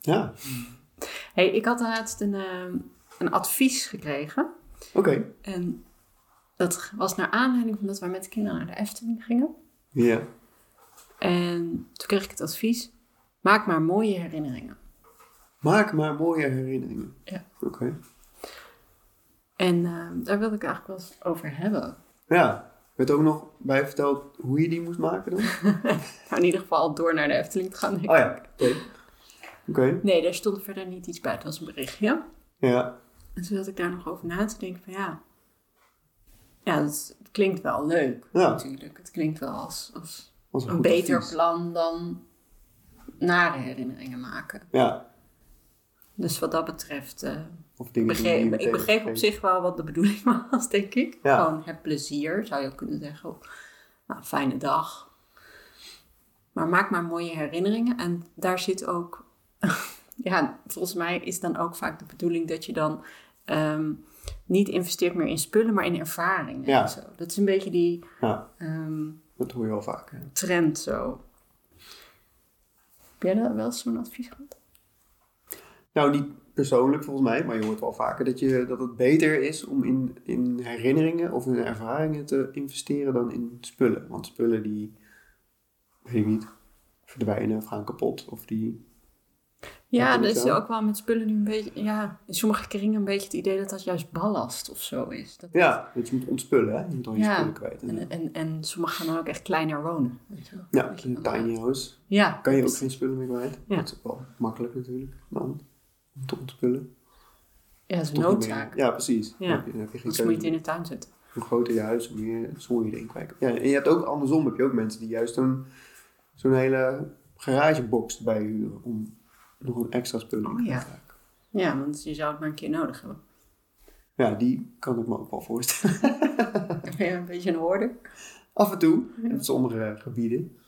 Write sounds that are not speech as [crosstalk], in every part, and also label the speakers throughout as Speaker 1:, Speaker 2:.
Speaker 1: Ja,
Speaker 2: Hey, ik had laatst een, ehm, een advies gekregen.
Speaker 1: oké.
Speaker 2: En dat was naar aanleiding van dat wij met de kinderen naar de Efteling gingen.
Speaker 1: Ja.
Speaker 2: En toen kreeg ik het advies, maak maar mooie herinneringen.
Speaker 1: Maak maar mooie herinneringen.
Speaker 2: Ja.
Speaker 1: Oké.
Speaker 2: En ehm, daar wilde ik het eigenlijk wel eens over hebben.
Speaker 1: Ja. Werd ook nog bij verteld hoe je die moest maken dan?
Speaker 2: Nou, in ieder geval door naar de Efteling te gaan. denk ik.
Speaker 1: Oh ja. Oké. Oké.
Speaker 2: Nee, daar stond verder niet iets bij. Het was een berichtje.
Speaker 1: Ja.
Speaker 2: En toen zat ik daar nog over na te denken van ja... Ja, dat is- het klinkt wel leuk
Speaker 1: Ja.
Speaker 2: natuurlijk. Het klinkt wel als, als
Speaker 1: Was
Speaker 2: een
Speaker 1: goed
Speaker 2: beter
Speaker 1: advies.
Speaker 2: plan dan nare herinneringen maken.
Speaker 1: Ja.
Speaker 2: Dus wat dat betreft, eh,
Speaker 1: Of dingen die je
Speaker 2: begreep,
Speaker 1: meteen
Speaker 2: ik begreep op
Speaker 1: vergeet.
Speaker 2: zich wel wat de bedoeling [laughs] was, denk ik.
Speaker 1: Ja.
Speaker 2: Gewoon heb plezier, zou je ook kunnen zeggen. Of, nou, fijne dag. Maar maak maar mooie herinneringen. En daar zit ook, [laughs] ja, volgens mij is dan ook vaak de bedoeling dat je dan ehm, niet investeert meer in spullen, maar in ervaringen.
Speaker 1: Ja.
Speaker 2: en zo. Dat is een beetje die
Speaker 1: Ja.
Speaker 2: ehm,
Speaker 1: Dat hoor je wel vaak. hè.
Speaker 2: trend zo. Heb jij daar wel eens zo'n advies gehad?
Speaker 1: Nou, niet persoonlijk volgens mij, maar je hoort wel vaker dat, je, dat het beter is om in, in herinneringen of in ervaringen te investeren dan in spullen. Want spullen die, weet ik niet, verdwijnen of gaan kapot. Of die,
Speaker 2: Ja,
Speaker 1: Heb je
Speaker 2: dat
Speaker 1: dat
Speaker 2: is
Speaker 1: wel?
Speaker 2: ook wel met spullen nu een beetje... Ja, in sommige kringen een beetje het idee dat dat juist ballast of zo is. Dat,
Speaker 1: ja, dat je moet ontspullen, hè? Je moet al je
Speaker 2: Ja.
Speaker 1: spullen kwijt. En,
Speaker 2: En, en, en sommigen gaan dan ook echt kleiner wonen. weet je wel.
Speaker 1: ja,
Speaker 2: Dat je
Speaker 1: een
Speaker 2: dan-
Speaker 1: tiny house.
Speaker 2: Ja,
Speaker 1: Kan je ook geen spullen meer kwijt.
Speaker 2: Ja.
Speaker 1: Dat is ook wel makkelijk natuurlijk, dan, om te ontspullen.
Speaker 2: ja, dat is een
Speaker 1: Toch niet meer-
Speaker 2: noodzaak.
Speaker 1: Ja, precies.
Speaker 2: Ja.
Speaker 1: Dan heb je, dan heb je geen
Speaker 2: Anders moet je
Speaker 1: keuze.
Speaker 2: het in de tuin zetten.
Speaker 1: hoe groter je huis, hoe meer zooi je erin kwijt. Ja, en je hebt ook andersom, heb je ook mensen die juist zo'n zo'n hele garagebox erbij huren om nog een extra spullen in
Speaker 2: Oh, ja.
Speaker 1: te maken.
Speaker 2: Ja, want je zou het maar een keer nodig hebben.
Speaker 1: Ja, die kan ik me ook wel voorstellen. [laughs]
Speaker 2: Dan ben je een beetje een hoorder.
Speaker 1: Af en toe, in sommige gebieden.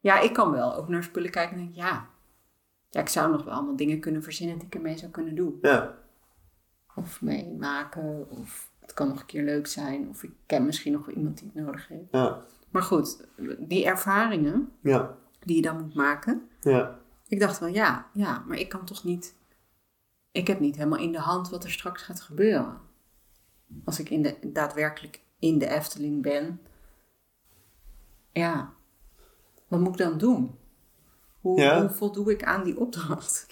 Speaker 2: Ja, ik kan wel ook naar spullen kijken en denk ja... Ja, ik zou nog wel allemaal dingen kunnen verzinnen die ik ermee zou kunnen doen.
Speaker 1: Ja,
Speaker 2: of meemaken. Of het kan nog een keer leuk zijn. Of ik ken misschien nog wel iemand die het nodig heeft.
Speaker 1: ja,
Speaker 2: Maar goed, die ervaringen
Speaker 1: ja,
Speaker 2: die je dan moet maken.
Speaker 1: ja.
Speaker 2: Ik dacht wel, ja, ja, maar ik kan toch niet... Ik heb niet helemaal in de hand wat er straks gaat gebeuren. Als ik in de, daadwerkelijk in de Efteling ben. Ja, wat moet ik dan doen? Hoe,
Speaker 1: Ja.
Speaker 2: hoe voldoe ik aan die opdracht?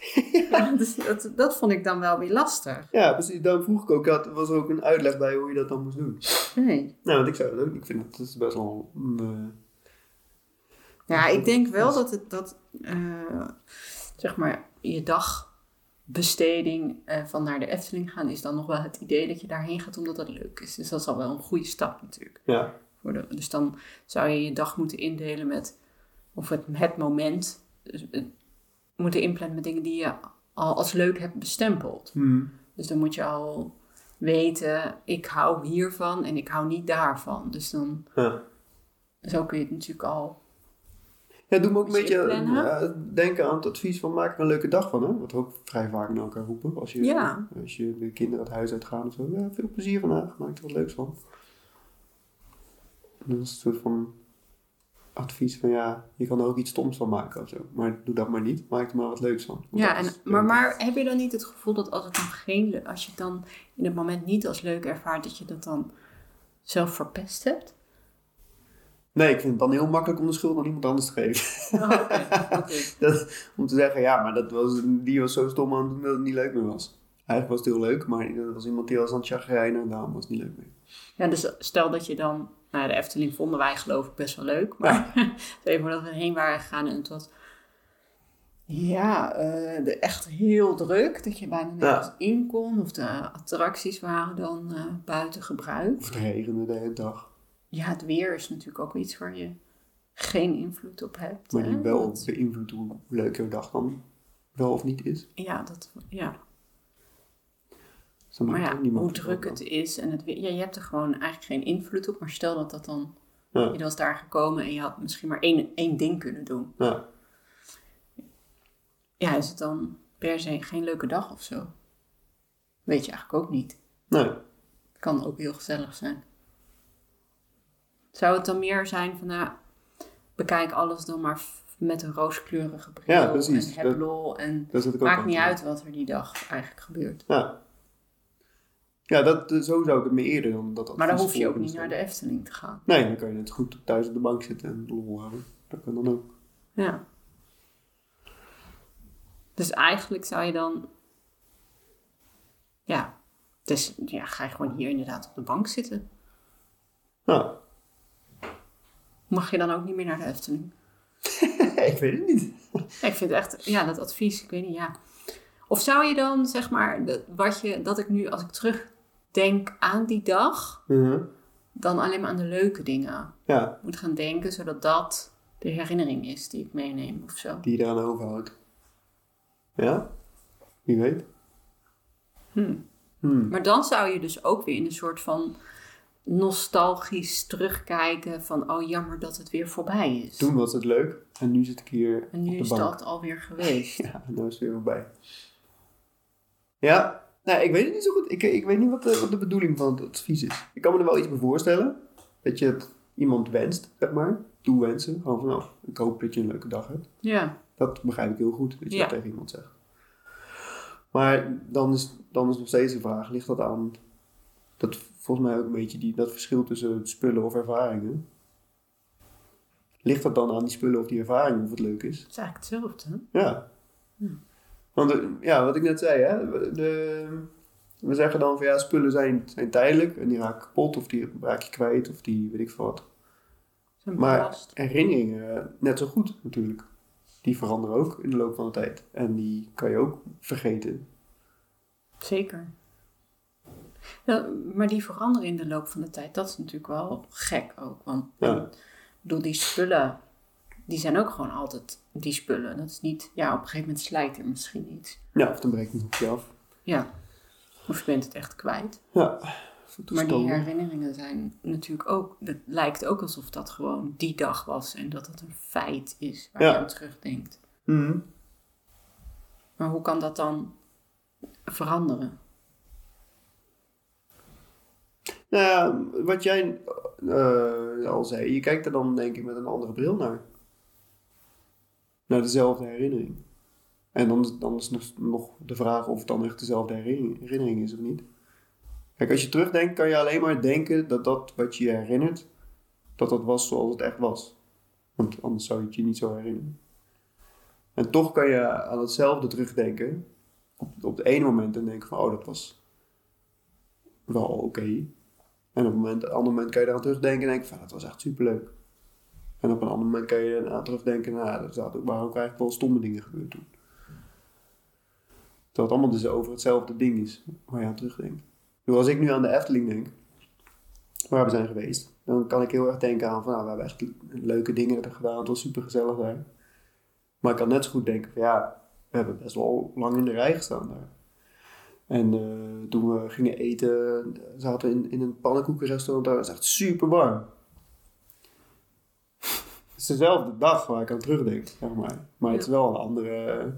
Speaker 2: Dus dat, dat vond ik dan wel weer lastig.
Speaker 1: Ja, precies. Daarom vroeg ik ook, dat was er ook een uitleg bij hoe je dat dan moest doen.
Speaker 2: Nee.
Speaker 1: Nou, want ik zou dat ook, ik vind dat, dat is best wel... een, eh,
Speaker 2: Ja, ik denk wel dat het dat, eh, zeg maar, je dagbesteding eh, van naar de Efteling gaan is dan nog wel het idee dat je daarheen gaat omdat dat leuk is. Dus dat is al wel een goede stap natuurlijk.
Speaker 1: ja,
Speaker 2: Voor de- dus dan zou je je dag moeten indelen met, of het, het moment, dus, eh, moeten inplannen met dingen die je al als leuk hebt bestempeld.
Speaker 1: hm,
Speaker 2: Dus dan moet je al weten, ik hou hiervan en ik hou niet daarvan. Dus dan,
Speaker 1: ja.
Speaker 2: zo kun je het natuurlijk al,
Speaker 1: Ja, doe me ook een
Speaker 2: Moet je
Speaker 1: beetje
Speaker 2: inplannen?
Speaker 1: ja, denken aan het advies van maak er een leuke dag van. Hè? Wat we ook vrij vaak naar elkaar roepen. Als je,
Speaker 2: Ja.
Speaker 1: als je de kinderen het huis uitgaan of zo. Ja, veel plezier vandaag. Maak er wat leuks van. En Dat is een soort van advies van ja, je kan er ook iets stoms van maken of zo. Maar doe dat maar niet. Maak er maar wat leuks van. Want
Speaker 2: Ja,
Speaker 1: dat
Speaker 2: en,
Speaker 1: is-
Speaker 2: maar, maar heb je dan niet het gevoel dat als het dan geen, le- als je het dan in het moment niet als leuk ervaart, dat je dat dan zelf verpest hebt?
Speaker 1: Nee, ik vind het dan heel makkelijk om de schuld aan iemand anders te geven.
Speaker 2: Oh,
Speaker 1: [laughs] Dat, om te zeggen, ja, maar dat was, die was zo stom aan het doen dat het niet leuk meer was. Eigenlijk was het heel leuk, maar dat was iemand die was aan het chagrijnen en daarom was het niet leuk meer.
Speaker 2: Ja, dus stel dat je dan, nou ja, de Efteling vonden wij geloof ik best wel leuk, maar [laughs] stel je voor dat we heen waren gegaan en het was, ja, eh, de- echt heel druk, dat je bijna nergens in kon, of de attracties waren dan eh, buiten gebruik.
Speaker 1: Of het regende de hele dag.
Speaker 2: Ja, het weer is natuurlijk ook iets waar je geen invloed op hebt.
Speaker 1: Maar
Speaker 2: hè?
Speaker 1: die wel
Speaker 2: Dat-
Speaker 1: beïnvloedt hoe leuk jouw dag dan wel of niet is.
Speaker 2: Ja, dat, ja.
Speaker 1: Dus dan
Speaker 2: maar
Speaker 1: maakt
Speaker 2: ja,
Speaker 1: ook niemand
Speaker 2: hoe
Speaker 1: het
Speaker 2: druk
Speaker 1: ook
Speaker 2: het is. En het, weer- ja, je hebt er gewoon eigenlijk geen invloed op. Maar stel dat dat dan...
Speaker 1: Ja.
Speaker 2: Je was daar gekomen en je had misschien maar één, één ding kunnen doen.
Speaker 1: uit. Ja.
Speaker 2: Ja, is het dan per se geen leuke dag of zo? Weet je eigenlijk ook niet.
Speaker 1: Nee.
Speaker 2: Het kan ook heel gezellig zijn. Zou het dan meer zijn van, nou, bekijk alles dan maar f- met een rooskleurige bril
Speaker 1: Ja, precies.
Speaker 2: en heb
Speaker 1: Dat-
Speaker 2: lol en
Speaker 1: Daar zit ik ook
Speaker 2: maakt
Speaker 1: aan
Speaker 2: niet
Speaker 1: te
Speaker 2: uit wat er die dag eigenlijk gebeurt.
Speaker 1: Ja. Ja, dat, eh, zo zou ik het me eerder dan dat
Speaker 2: Maar dan
Speaker 1: advies
Speaker 2: hoef je ook
Speaker 1: volgen
Speaker 2: niet
Speaker 1: dan.
Speaker 2: naar de Efteling te gaan.
Speaker 1: Nee, dan kan je net goed thuis op de bank zitten en lol houden. Dat kan dan ook.
Speaker 2: Ja. Dus eigenlijk zou je dan, ja, dus ja, ga je gewoon hier inderdaad op de bank zitten.
Speaker 1: Nou,
Speaker 2: Mag je dan ook niet meer naar de Efteling?
Speaker 1: [laughs] ik weet het niet.
Speaker 2: Ja, ik vind echt, ja, dat advies, ik weet niet, ja. Of zou je dan, zeg maar, dat, wat je, dat ik nu als ik terugdenk aan die dag,
Speaker 1: Mhm.
Speaker 2: dan alleen maar aan de leuke dingen
Speaker 1: Ja,
Speaker 2: moet gaan denken, zodat dat de herinnering is die ik meeneem of zo.
Speaker 1: die je eraan overhoudt. Ja? Wie weet.
Speaker 2: Maar dan zou je dus ook weer in een soort van nostalgisch terugkijken van, oh jammer dat het weer voorbij is.
Speaker 1: Toen was het leuk en nu zit ik hier
Speaker 2: en nu
Speaker 1: op
Speaker 2: is
Speaker 1: de bank.
Speaker 2: dat alweer geweest.
Speaker 1: [laughs] Ja, nou is het weer voorbij. Ja, nou, ik weet het niet zo goed. Ik, ik weet niet wat de, wat de bedoeling van het advies is. Ik kan me er wel iets bij voorstellen. Dat je het iemand wenst, zeg maar. Toewensen. Gewoon van, nou, ik hoop dat je een leuke dag hebt.
Speaker 2: Ja,
Speaker 1: Dat begrijp ik heel goed, dat je
Speaker 2: Ja.
Speaker 1: dat tegen iemand zegt. Maar dan is, dan is nog steeds de vraag, ligt dat aan... Dat volgens mij ook een beetje die, dat verschil tussen spullen of ervaringen. Ligt dat dan aan die spullen of die ervaringen of het leuk is?
Speaker 2: het is eigenlijk hetzelfde. hè?
Speaker 1: Ja. Want eh, ja, wat ik net zei, hè, we- de, we zeggen dan van ja, spullen zijn, zijn tijdelijk en die raken kapot of die raak je kwijt of die weet ik veel wat.
Speaker 2: Zijn
Speaker 1: Maar
Speaker 2: belast.
Speaker 1: herinneringen, eh, net zo goed natuurlijk. Die veranderen ook in de loop van de tijd en die kan je ook vergeten.
Speaker 2: Zeker. Ja, maar die veranderen in de loop van de tijd, dat is natuurlijk wel gek ook. Want
Speaker 1: Ja.
Speaker 2: ik bedoel, die spullen, die zijn ook gewoon altijd die spullen. Dat is niet, ja, op een gegeven moment slijt er misschien iets.
Speaker 1: Ja, of dan breekt een hoekje af.
Speaker 2: Ja, of je bent het echt kwijt.
Speaker 1: Ja,
Speaker 2: Maar die
Speaker 1: toestanden.
Speaker 2: herinneringen zijn natuurlijk ook, het lijkt ook alsof dat gewoon die dag was en dat het een feit is waar
Speaker 1: Ja.
Speaker 2: je aan terugdenkt.
Speaker 1: Mhm.
Speaker 2: Maar hoe kan dat dan veranderen?
Speaker 1: Nou ja, wat jij eh, al zei, je kijkt er dan denk ik met een andere bril naar. Naar dezelfde herinnering. En dan, is- dan is nog, nog de vraag of het dan echt dezelfde herinnering, herinnering is of niet. Kijk, als je terugdenkt, kan je alleen maar denken dat dat wat je je herinnert, dat dat was zoals het echt was. Want anders zou je het je niet zo herinneren. En toch kan je aan hetzelfde terugdenken op, op het ene moment en denken van, oh, dat was wel oké. En op een moment, een ander moment kan je eraan terugdenken en denken van dat was echt superleuk. En op een ander moment kan je eraan terugdenken, nou, er zaten ook, waren ook eigenlijk wel stomme dingen gebeurd toen. Terwijl het allemaal dus over hetzelfde ding is waar je aan terugdenkt. Dus als ik nu aan de Efteling denk, waar we zijn geweest, dan kan ik heel erg denken aan van nou, we hebben echt leuke dingen er gedaan, het was super gezellig daar. Maar ik kan net zo goed denken van ja, we hebben best wel lang in de rij gestaan daar. En eh, toen we gingen eten, zaten we in, in een pannenkoekenrestaurant. Daar was echt super warm. Het is dezelfde dag waar ik aan terugdenk, zeg maar. Maar het is wel een andere,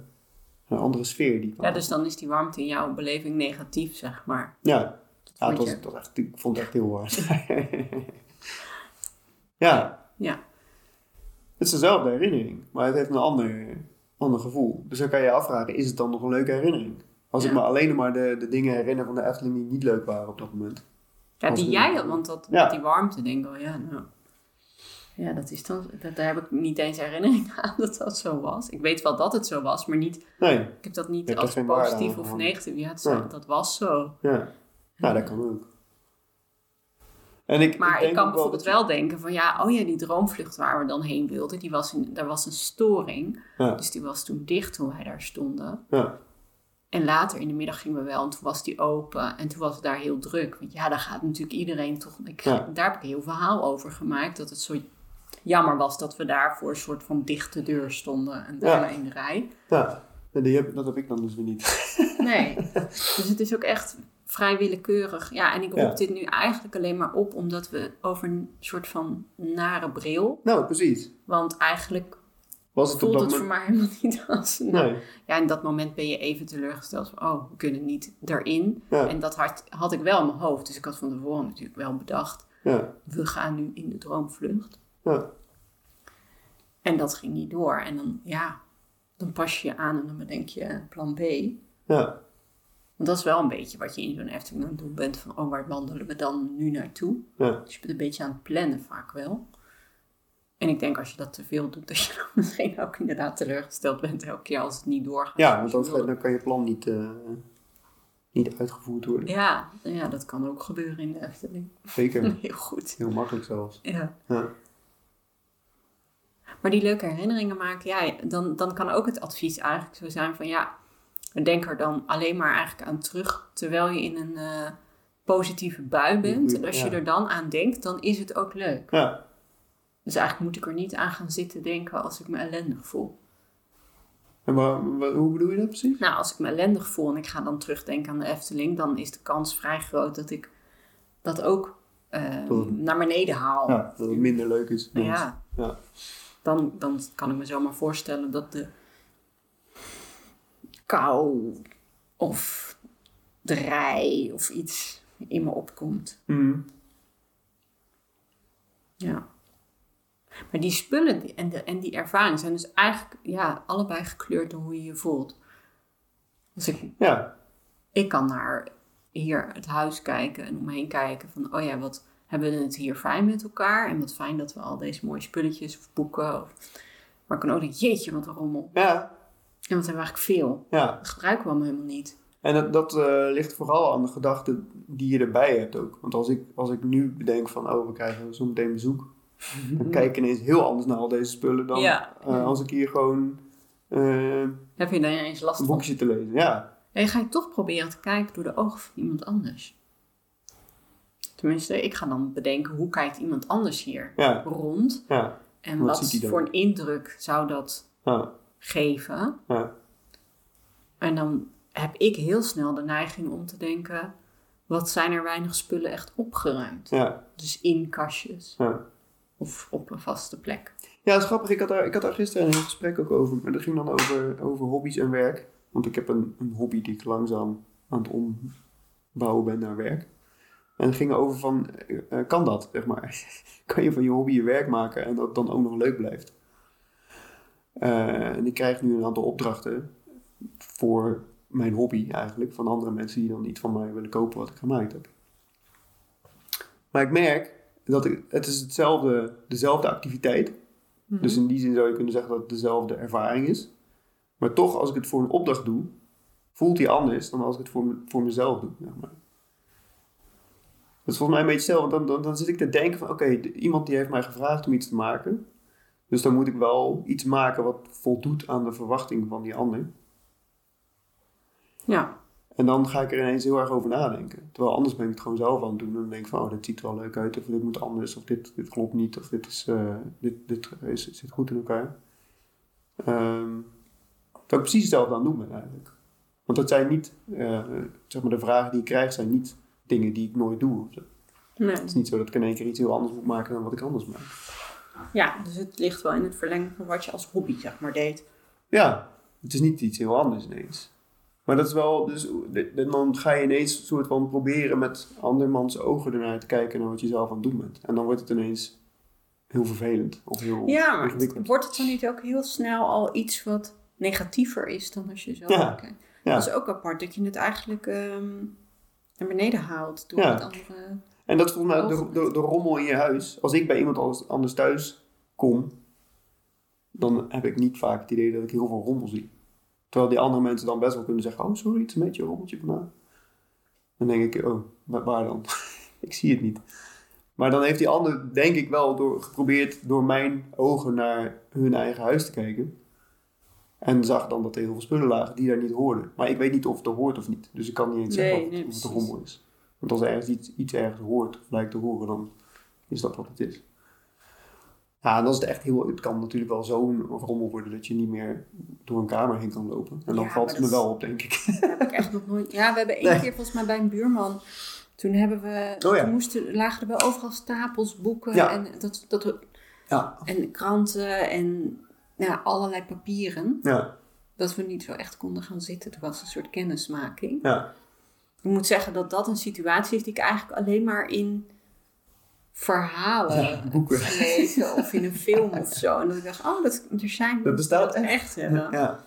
Speaker 1: een andere sfeer. Die ik
Speaker 2: Ja, dus dan is die warmte in jouw beleving negatief, zeg maar.
Speaker 1: ja, ja
Speaker 2: vond
Speaker 1: het was,
Speaker 2: je?
Speaker 1: het was echt, ik vond het echt
Speaker 2: [laughs]
Speaker 1: heel hard. ja,
Speaker 2: Ja,
Speaker 1: het is dezelfde herinnering, maar het heeft een ander, ander gevoel. Dus dan kan je je afvragen, is het dan nog een leuke herinnering? Als ik
Speaker 2: Ja.
Speaker 1: me alleen maar de, de dingen herinner van de Efteling die niet leuk waren op dat moment.
Speaker 2: ja
Speaker 1: Als
Speaker 2: die
Speaker 1: een-
Speaker 2: jij, want dat,
Speaker 1: Ja.
Speaker 2: die warmte, denk ik, oh ja, nou. Ja, dat is dan, dat, daar heb ik niet eens herinnering [laughs] aan dat dat zo was. Ik weet wel dat het zo was, maar niet,
Speaker 1: Nee,
Speaker 2: ik heb dat niet
Speaker 1: hebt er
Speaker 2: als
Speaker 1: geen waarde aan
Speaker 2: positief of
Speaker 1: gehangen.
Speaker 2: negatief. Ja, het is-
Speaker 1: Nee.
Speaker 2: dat was zo.
Speaker 1: ja. Nou, dat kan ook. En ik,
Speaker 2: Maar ik,
Speaker 1: denk
Speaker 2: kan
Speaker 1: ook wel
Speaker 2: bijvoorbeeld wel denken van ja, oh ja, die droomvlucht waar we dan heen wilden, die was in, daar was een storing.
Speaker 1: Ja,
Speaker 2: Dus die was toen dicht toen wij daar stonden.
Speaker 1: ja,
Speaker 2: En later in de middag gingen we wel en toen was die open en toen was het daar heel druk. Want ja, daar gaat natuurlijk iedereen toch... Ik,
Speaker 1: Ja.
Speaker 2: Daar heb ik een heel verhaal over gemaakt, dat het zo jammer was dat we daar voor een soort van dichte deur stonden en daarna in de rij.
Speaker 1: ja, En die heb, dat heb ik dan dus weer niet.
Speaker 2: Nee. [laughs] Dus het is ook echt vrij willekeurig. Ja, en ik roep
Speaker 1: Ja.
Speaker 2: dit nu eigenlijk alleen maar op omdat we over een soort van nare bril.
Speaker 1: Nou, precies.
Speaker 2: Want eigenlijk
Speaker 1: Was het op
Speaker 2: voelt
Speaker 1: dat
Speaker 2: het voor
Speaker 1: moment-
Speaker 2: mij helemaal [laughs] niet als. Nou,
Speaker 1: Nee.
Speaker 2: Ja, in dat moment ben je even teleurgesteld van, oh, we kunnen niet erin.
Speaker 1: Ja.
Speaker 2: En dat had, had ik wel in mijn hoofd. Dus ik had van tevoren natuurlijk wel bedacht,
Speaker 1: Ja.
Speaker 2: we gaan nu in de droomvlucht.
Speaker 1: Ja.
Speaker 2: En dat ging niet door. En dan, ja, dan pas je je aan en dan bedenk je plan B.
Speaker 1: Ja.
Speaker 2: Want dat is wel een beetje wat je in zo'n Efteling aan het doen bent. Van, oh, waar wandelen we dan nu naartoe?
Speaker 1: Ja.
Speaker 2: Dus je bent een beetje aan het plannen vaak wel. En ik denk als je dat te veel doet, dat je dan [laughs] misschien ook inderdaad teleurgesteld bent elke keer als het niet doorgaat.
Speaker 1: ja,
Speaker 2: zoals
Speaker 1: want
Speaker 2: je
Speaker 1: anders
Speaker 2: wilde.
Speaker 1: dan kan je plan niet, eh, niet uitgevoerd worden.
Speaker 2: Ja, ja, dat kan ook gebeuren in de Efteling.
Speaker 1: Zeker.
Speaker 2: [laughs] Heel goed.
Speaker 1: Heel makkelijk zelfs.
Speaker 2: Ja.
Speaker 1: Ja.
Speaker 2: Maar die leuke herinneringen maken, ja, dan, dan kan ook het advies eigenlijk zo zijn van ja, denk er dan alleen maar eigenlijk aan terug terwijl je in een eh, positieve bui bent. En als je
Speaker 1: Ja.
Speaker 2: er dan aan denkt, dan is het ook leuk.
Speaker 1: Ja.
Speaker 2: Dus eigenlijk moet ik er niet aan gaan zitten denken als ik me ellendig voel.
Speaker 1: En waar, waar- hoe bedoel je dat precies?
Speaker 2: Nou, als ik me ellendig voel en ik ga dan terugdenken aan de Efteling, dan is de kans vrij groot dat ik dat ook eh,
Speaker 1: Dat-
Speaker 2: naar beneden haal.
Speaker 1: Ja, dat het minder leuk is.
Speaker 2: Nou
Speaker 1: Ja.
Speaker 2: Ja. Dan, dan kan ik me zomaar voorstellen dat de kou of de rij of iets in me opkomt.
Speaker 1: Mhm.
Speaker 2: Ja. Maar die spullen die- en, de, en die ervaring zijn dus eigenlijk ja, allebei gekleurd door hoe je je voelt. Dus ik,
Speaker 1: Ja.
Speaker 2: ik kan naar hier het huis kijken en omheen kijken van... oh ja, wat hebben we het hier fijn met elkaar... en wat fijn dat we al deze mooie spulletjes of boeken... Of, maar ik kan ook denken, jeetje, wat een rommel.
Speaker 1: Ja.
Speaker 2: En wat hebben we eigenlijk veel.
Speaker 1: Ja.
Speaker 2: Dat gebruiken we allemaal helemaal niet.
Speaker 1: En dat, dat eh, ligt vooral aan de gedachte die je erbij hebt ook. Want als ik, als ik nu bedenk van, oh, we krijgen zo meteen bezoek. Dan kijk ik ineens heel anders naar al deze spullen dan
Speaker 2: Ja.
Speaker 1: eh, als ik hier gewoon eh,
Speaker 2: Heb je daar eens last
Speaker 1: een
Speaker 2: van?
Speaker 1: boekje te lezen. Ja.
Speaker 2: En je gaat toch proberen te kijken door de ogen van iemand anders. Tenminste, ik ga dan bedenken, hoe kijkt iemand anders hier
Speaker 1: Ja.
Speaker 2: rond?
Speaker 1: Ja.
Speaker 2: En
Speaker 1: Wat
Speaker 2: wat,
Speaker 1: ziet hij dan?
Speaker 2: voor een indruk zou dat
Speaker 1: Ja.
Speaker 2: geven?
Speaker 1: Ja.
Speaker 2: En dan heb ik heel snel de neiging om te denken... wat zijn er weinig spullen echt opgeruimd?
Speaker 1: Ja.
Speaker 2: Dus in kastjes
Speaker 1: ja.
Speaker 2: of op een vaste plek.
Speaker 1: Ja, dat is grappig. Ik had, daar, ik had daar gisteren een heel gesprek ook over. Maar dat ging dan over, over hobby's en werk. Want ik heb een, een hobby die ik langzaam aan het ombouwen ben naar werk. En het ging over van, eh, eh, kan dat, zeg maar? [laughs] kan je van je hobby je werk maken en dat het dan ook nog leuk blijft? Eh, en ik krijg nu een aantal opdrachten voor mijn hobby eigenlijk. Van andere mensen die dan iets van mij willen kopen wat ik gemaakt heb. Maar ik merk dat ik, het is hetzelfde, dezelfde activiteit dus in die zin zou je kunnen zeggen dat het dezelfde ervaring is. Maar toch, als ik het voor een opdracht doe, voelt die anders dan als ik het voor, me- voor mezelf doe. Zeg maar. Dat is volgens mij een beetje hetzelfde. Want Dan, dan, dan zit ik te denken van, oké, de- iemand die heeft mij gevraagd om iets te maken. Dus dan moet ik wel iets maken wat voldoet aan de verwachting van die ander.
Speaker 2: Ja,
Speaker 1: En dan ga ik er ineens heel erg over nadenken. Terwijl anders ben ik het gewoon zelf aan het doen. En dan denk ik van, oh, dit ziet er wel leuk uit. Of dit moet anders. Of dit, dit klopt niet. Of dit, is, eh, dit, dit is, zit goed in elkaar. Ehm dat ik precies hetzelfde aan het doen ben eigenlijk. Want dat zijn niet, eh, zeg maar de vragen die ik krijg zijn niet dingen die ik nooit doe. of zo. Het
Speaker 2: nee.
Speaker 1: is niet zo dat ik in één keer iets heel anders moet maken dan wat ik anders maak.
Speaker 2: Ja, dus het ligt wel in het verlengde van wat je als hobby zeg maar deed.
Speaker 1: Ja, het is niet iets heel anders ineens. Maar dat is wel, dus, de- de- dan ga je ineens soort van proberen met andermans ogen ernaar te kijken naar wat je zelf aan het doen bent. En dan wordt het ineens heel vervelend of heel
Speaker 2: Ja, maar het-
Speaker 1: ingewikkeld.
Speaker 2: wordt het dan niet ook heel snel al iets wat negatiever is dan als je zo
Speaker 1: Ja,
Speaker 2: kijkt?
Speaker 1: ja.
Speaker 2: Dat is ook apart, dat je het eigenlijk ehm, naar beneden haalt door
Speaker 1: Ja.
Speaker 2: het andere...
Speaker 1: En dat is volgens mij de, de, de rommel in je huis. Als ik bij iemand anders- anders thuis kom, dan heb ik niet vaak het idee dat ik heel veel rommel zie. Terwijl die andere mensen dan best wel kunnen zeggen, oh sorry, het is een beetje een rommeltje vandaag. Dan denk ik, oh, wa- waar dan? [laughs] ik zie het niet. Maar dan heeft die ander, denk ik wel, door, geprobeerd door mijn ogen naar hun eigen huis te kijken. En zag dan dat er heel veel spullen lagen die daar niet hoorden. Maar ik weet niet of het er hoort of niet. Dus ik kan niet eens zeggen
Speaker 2: Nee,
Speaker 1: of, het-
Speaker 2: nee,
Speaker 1: of het
Speaker 2: precies.
Speaker 1: rommel is. Want als er ergens iets, iets ergens hoort, of lijkt te horen, dan is dat wat het is. Ja, dan is het echt heel... Het kan natuurlijk wel zo'n rommel worden dat je niet meer door een kamer heen kan lopen. En dan
Speaker 2: Ja,
Speaker 1: valt
Speaker 2: maar
Speaker 1: het me
Speaker 2: dat is-
Speaker 1: wel op, denk ik. [laughs]
Speaker 2: Dat heb ik echt nog nooit. Ja, we hebben één
Speaker 1: Nee.
Speaker 2: keer volgens mij bij een buurman. Toen hebben we.
Speaker 1: Oh ja.
Speaker 2: toen moesten, lagen er wel overal stapels boeken
Speaker 1: Ja.
Speaker 2: en, dat, dat,
Speaker 1: ja.
Speaker 2: en kranten en ja, allerlei papieren.
Speaker 1: Ja,
Speaker 2: Dat we niet zo echt konden gaan zitten. Toen was een soort kennismaking.
Speaker 1: ja.
Speaker 2: Ik moet zeggen dat dat een situatie is die ik eigenlijk alleen maar in verhalen
Speaker 1: Ja, boeken.
Speaker 2: heb gelezen of in een film of zo. En dat ik dacht, oh, dat, er zijn mensen
Speaker 1: bestaat
Speaker 2: die dat
Speaker 1: echt.
Speaker 2: echt hebben.
Speaker 1: Ja.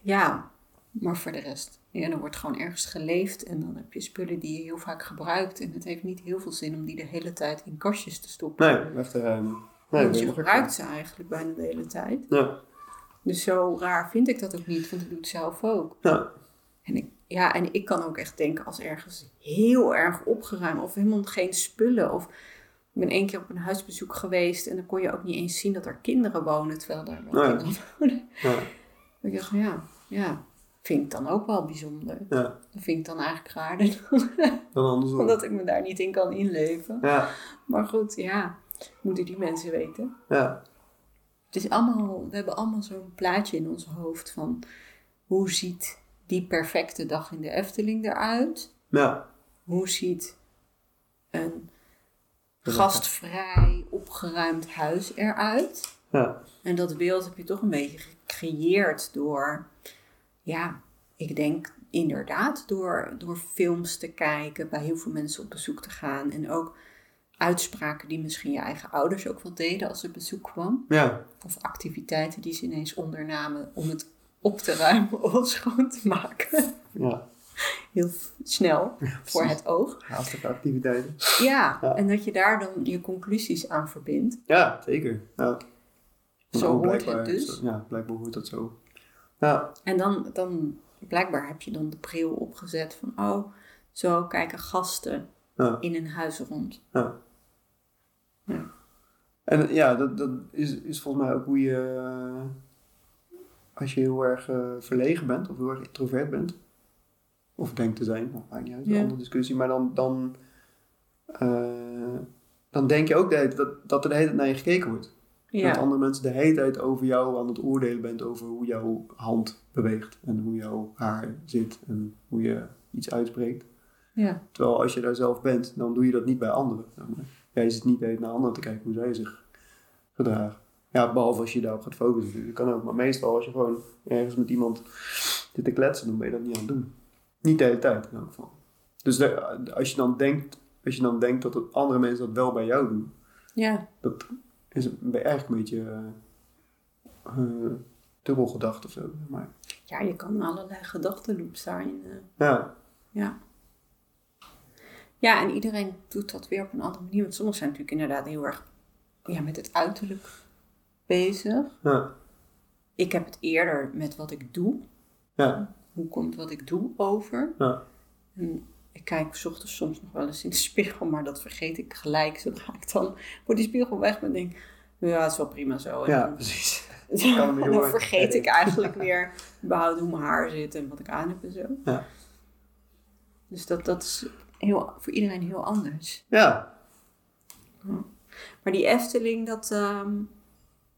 Speaker 2: Ja, maar voor de rest. Ja, er wordt gewoon ergens geleefd en dan heb je spullen die je heel vaak gebruikt. En het heeft niet heel veel zin om die de hele tijd in kastjes te stoppen.
Speaker 1: Nee, echt... ehm, nee,
Speaker 2: Want
Speaker 1: dat
Speaker 2: je
Speaker 1: is-
Speaker 2: gebruikt ze eigenlijk bijna de hele tijd.
Speaker 1: Ja,
Speaker 2: Dus zo raar vind ik dat ook niet, want ik doe het zelf ook.
Speaker 1: ja.
Speaker 2: En ik, ja, en ik kan ook echt denken als ergens heel erg opgeruimd of helemaal geen spullen. Of ik ben één keer op een huisbezoek geweest en dan kon je ook niet eens zien dat er kinderen wonen, terwijl daar wel
Speaker 1: Nee.
Speaker 2: kinderen [laughs] wonen.
Speaker 1: ja,
Speaker 2: Ik dacht, ja, ja, vind ik dan ook wel bijzonder.
Speaker 1: ja.
Speaker 2: Dat vind ik dan eigenlijk raarder, [laughs]
Speaker 1: Dan andersom.
Speaker 2: omdat ik me daar niet in kan inleven.
Speaker 1: Ja,
Speaker 2: Maar goed, ja, moeten die mensen weten.
Speaker 1: ja.
Speaker 2: Het is allemaal, we hebben allemaal zo'n plaatje in ons hoofd van hoe ziet die perfecte dag in de Efteling eruit?
Speaker 1: Ja,
Speaker 2: Hoe ziet een gastvrij, opgeruimd huis eruit?
Speaker 1: ja.
Speaker 2: En dat beeld heb je toch een beetje gecreëerd door, ja, ik denk inderdaad door, door films te kijken, bij heel veel mensen op bezoek te gaan en ook uitspraken die misschien je eigen ouders ook wel deden als er bezoek kwam.
Speaker 1: Ja,
Speaker 2: Of activiteiten die ze ineens ondernamen om het op te ruimen of schoon te maken.
Speaker 1: ja.
Speaker 2: Heel f- snel voor het oog.
Speaker 1: Haastige activiteiten.
Speaker 2: Ja,
Speaker 1: Ja.
Speaker 2: en dat je daar dan je conclusies aan verbindt.
Speaker 1: Ja, zeker. Ja.
Speaker 2: Zo
Speaker 1: Nou,
Speaker 2: hoort
Speaker 1: blijkbaar
Speaker 2: het
Speaker 1: is
Speaker 2: dus.
Speaker 1: dat- Ja, blijkbaar hoort dat zo. Ja,
Speaker 2: En dan, dan blijkbaar heb je dan de bril opgezet van, oh, zo kijken gasten
Speaker 1: ja,
Speaker 2: in een huis rond.
Speaker 1: ja.
Speaker 2: Ja.
Speaker 1: En ja, dat, dat is, is volgens mij ook hoe je, eh, als je heel erg eh, verlegen bent of heel erg introvert bent, of denkt te zijn, dat maakt niet uit, dat is
Speaker 2: Ja.
Speaker 1: een andere discussie, maar dan, dan, eh, dan denk je ook de hele tijd dat, dat er de hele tijd naar je gekeken wordt. Dat
Speaker 2: Ja,
Speaker 1: andere mensen de hele tijd over jou aan het oordelen bent over hoe jouw hand beweegt en hoe jouw haar zit en hoe je iets uitspreekt.
Speaker 2: ja,
Speaker 1: Terwijl als je daar zelf bent, dan doe je dat niet bij anderen. zeg maar. Jij zit niet de hele tijd naar anderen te kijken hoe zij zich gedragen. Ja, behalve als je daarop gaat focussen. natuurlijk. Dat kan ook. Maar meestal als je gewoon ergens met iemand zit te kletsen, dan ben je dat niet aan het doen. Niet de hele tijd in elk geval. Dus daar- als, je dan denkt, als je dan denkt dat het andere mensen dat wel bij jou doen,
Speaker 2: ja,
Speaker 1: dat is een- eigenlijk een beetje eh, eh, dubbel gedacht of zo. Maar,
Speaker 2: ja, je kan allerlei gedachtenloops daarin. eh,
Speaker 1: ja,
Speaker 2: ja. ja, en iedereen doet dat weer op een andere manier. Want sommigen zijn natuurlijk inderdaad heel erg ja, met het uiterlijk bezig.
Speaker 1: ja,
Speaker 2: Ik heb het eerder met wat ik doe.
Speaker 1: ja,
Speaker 2: Hoe komt wat ik doe over?
Speaker 1: ja,
Speaker 2: En ik kijk 's ochtends soms nog wel eens in de spiegel, maar dat vergeet ik gelijk zodra ik dan voor die spiegel weg ben. Denk, ja, het is wel prima zo. En
Speaker 1: ja,
Speaker 2: dan- [laughs]
Speaker 1: precies. kan hem
Speaker 2: dan,
Speaker 1: niet horen.
Speaker 2: vergeet ik eigenlijk weer überhaupt hoe mijn haar zit en wat ik aan heb en zo.
Speaker 1: Ja.
Speaker 2: Dus dat, dat is heel, voor iedereen heel anders.
Speaker 1: Ja,
Speaker 2: Maar die Efteling, dat, ehm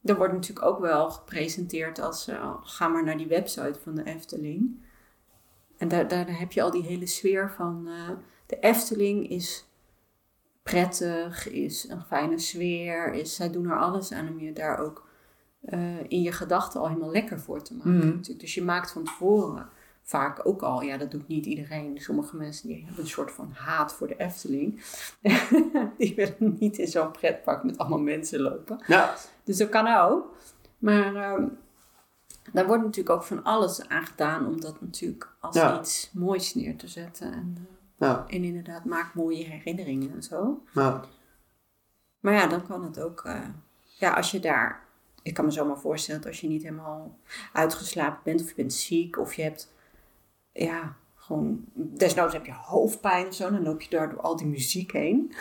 Speaker 2: dat wordt natuurlijk ook wel gepresenteerd als eh, ga maar naar die website van de Efteling. En daar, daar heb je al die hele sfeer van eh, de Efteling is prettig, is een fijne sfeer. Is, zij doen er alles aan om je daar ook eh, in je gedachten al helemaal lekker voor te maken.
Speaker 1: Mhm.
Speaker 2: natuurlijk. Dus je maakt van tevoren vaak ook al, ja dat doet niet iedereen. Sommige mensen die hebben een soort van haat voor de Efteling. [laughs] die willen niet in zo'n pretpark met allemaal mensen lopen.
Speaker 1: ja,
Speaker 2: Dus dat kan ook. Maar ehm, daar wordt natuurlijk ook van alles aan gedaan om dat natuurlijk als
Speaker 1: Ja.
Speaker 2: iets moois neer te zetten. En, eh,
Speaker 1: ja,
Speaker 2: en inderdaad, maak mooie herinneringen en zo.
Speaker 1: ja,
Speaker 2: Maar ja, dan kan het ook. eh, ja, als je daar. Ik kan me zomaar voorstellen dat als je niet helemaal uitgeslapen bent, of je bent ziek, of je hebt. Ja, gewoon. Desnoods heb je hoofdpijn of zo, dan loop je daar door al die muziek
Speaker 1: [laughs]
Speaker 2: heen.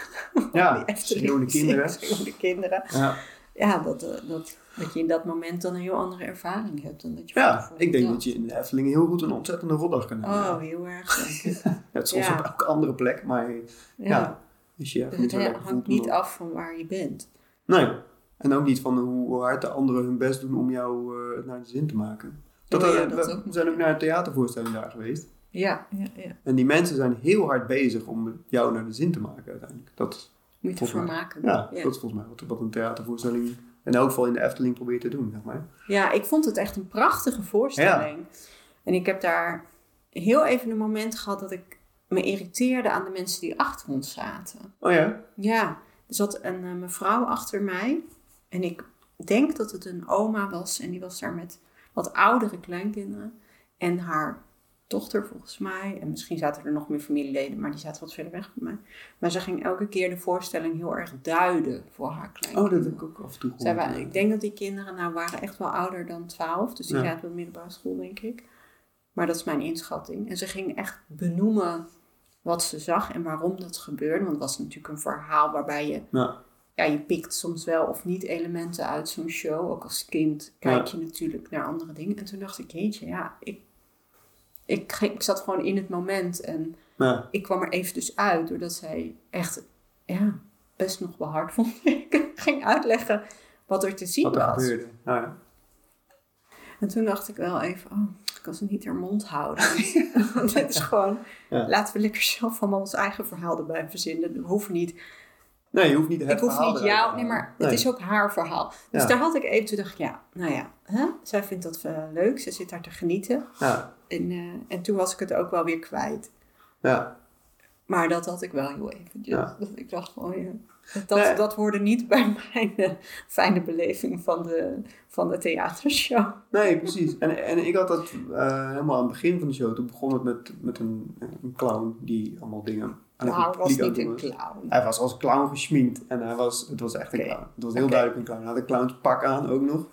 Speaker 1: ja,
Speaker 2: Efteling
Speaker 1: schreeuwende
Speaker 2: muziek,
Speaker 1: kinderen.
Speaker 2: schreeuwende kinderen
Speaker 1: Ja,
Speaker 2: ja, dat, eh, dat, dat je in dat moment dan een heel andere ervaring hebt. Dan dat je van
Speaker 1: ja,
Speaker 2: tevoren
Speaker 1: ik denk
Speaker 2: dacht.
Speaker 1: dat je in de Efteling heel goed een ontzettende roddag kan hebben.
Speaker 2: Oh, heel
Speaker 1: [laughs]
Speaker 2: erg. denk ik.
Speaker 1: Ja, het is soms
Speaker 2: ja.
Speaker 1: op elke andere plek, maar
Speaker 2: Ja.
Speaker 1: Ja, eh, als je je
Speaker 2: Dus
Speaker 1: echt
Speaker 2: het
Speaker 1: niet zo
Speaker 2: he-
Speaker 1: lekker voelt,
Speaker 2: hangt
Speaker 1: dan-
Speaker 2: niet af van waar je bent.
Speaker 1: Nee, En ook niet van hoe hard de anderen hun best doen om jou eh, het naar de zin te maken. Dat,
Speaker 2: Oh ja,
Speaker 1: eh,
Speaker 2: dat
Speaker 1: we
Speaker 2: ook.
Speaker 1: we zijn ook naar een theatervoorstelling daar geweest.
Speaker 2: Ja, ja, ja.
Speaker 1: En die mensen zijn heel hard bezig om jou naar de zin te maken uiteindelijk. Dat is
Speaker 2: Moet je
Speaker 1: Volgens
Speaker 2: ervoor
Speaker 1: mij.
Speaker 2: maken.
Speaker 1: Ja,
Speaker 2: ja.
Speaker 1: dat is volgens mij wat, wat een theatervoorstelling in elk geval in de Efteling probeert te doen, zeg maar.
Speaker 2: Ja, ik vond het echt een prachtige voorstelling. En ik heb daar heel even een moment gehad dat ik me irriteerde aan de mensen die achter ons zaten.
Speaker 1: Oh ja?
Speaker 2: Ja, er zat een eh, mevrouw achter mij. En ik denk dat het een oma was. En die was daar met wat oudere kleinkinderen. En haar dochter volgens mij. En misschien zaten er nog meer familieleden, maar die zaten wat verder weg van mij. Maar ze ging elke keer de voorstelling heel erg duiden voor haar
Speaker 1: Oh,
Speaker 2: kleinkinderen.
Speaker 1: dat heb ik ook af en toe gehoord.
Speaker 2: Zij waren, ik denk dat die kinderen nou waren echt wel ouder dan 12, dus die
Speaker 1: Ja.
Speaker 2: zaten op de middelbare school, denk ik. Maar dat is mijn inschatting. En ze ging echt benoemen wat ze zag en waarom dat gebeurde. Want het was natuurlijk een verhaal waarbij je,
Speaker 1: Ja,
Speaker 2: ja, je pikt soms wel of niet elementen uit zo'n show. Ook als kind kijk je natuurlijk naar andere dingen. En toen dacht ik, jeetje, ja, ik, ik, ging- ik zat gewoon in het moment en
Speaker 1: ja.
Speaker 2: ik kwam er even dus uit, doordat zij echt ja, best nog wel hard vond. [laughs] ik ging uitleggen wat er te zien
Speaker 1: wat er
Speaker 2: was.
Speaker 1: gebeurde. Nou ja.
Speaker 2: En toen dacht ik wel even, oh, ik kan ze niet haar mond
Speaker 1: [laughs]
Speaker 2: houden. Want dit is gewoon,
Speaker 1: Ja.
Speaker 2: laten we lekker zelf allemaal ons eigen verhaal erbij verzinnen. We hoeven niet,
Speaker 1: Nee, je hoeft niet het
Speaker 2: ik hoef
Speaker 1: verhaal
Speaker 2: niet
Speaker 1: eruit te
Speaker 2: jou,
Speaker 1: halen.
Speaker 2: nee, maar het
Speaker 1: Nee.
Speaker 2: is ook haar verhaal. Dus
Speaker 1: Ja.
Speaker 2: daar had ik even, toen dacht ik, ja, nou ja, hè? zij vindt dat eh, leuk, ze zit daar te genieten.
Speaker 1: Ja,
Speaker 2: En, eh, en toen was ik het ook wel weer kwijt.
Speaker 1: ja.
Speaker 2: Maar dat had ik wel heel eventjes.
Speaker 1: Ja.
Speaker 2: Dat ik dacht van, oh ja, dat,
Speaker 1: Nee.
Speaker 2: dat hoorde niet bij [laughs] mijn eh, fijne beleving van de, van de theatershow.
Speaker 1: Nee, precies. En, en ik had dat eh, helemaal aan het begin van de show. Toen begon het met, met een, een clown die allemaal dingen aan
Speaker 2: Nou,
Speaker 1: het
Speaker 2: hij was
Speaker 1: publiek aan het
Speaker 2: niet
Speaker 1: doen
Speaker 2: een
Speaker 1: was.
Speaker 2: clown.
Speaker 1: Hij was als clown geschminkt en hij was, het was echt een
Speaker 2: Oké.
Speaker 1: clown. Het was heel
Speaker 2: Oké.
Speaker 1: duidelijk een clown. Hij had een clownspak aan ook
Speaker 2: [laughs]
Speaker 1: nog.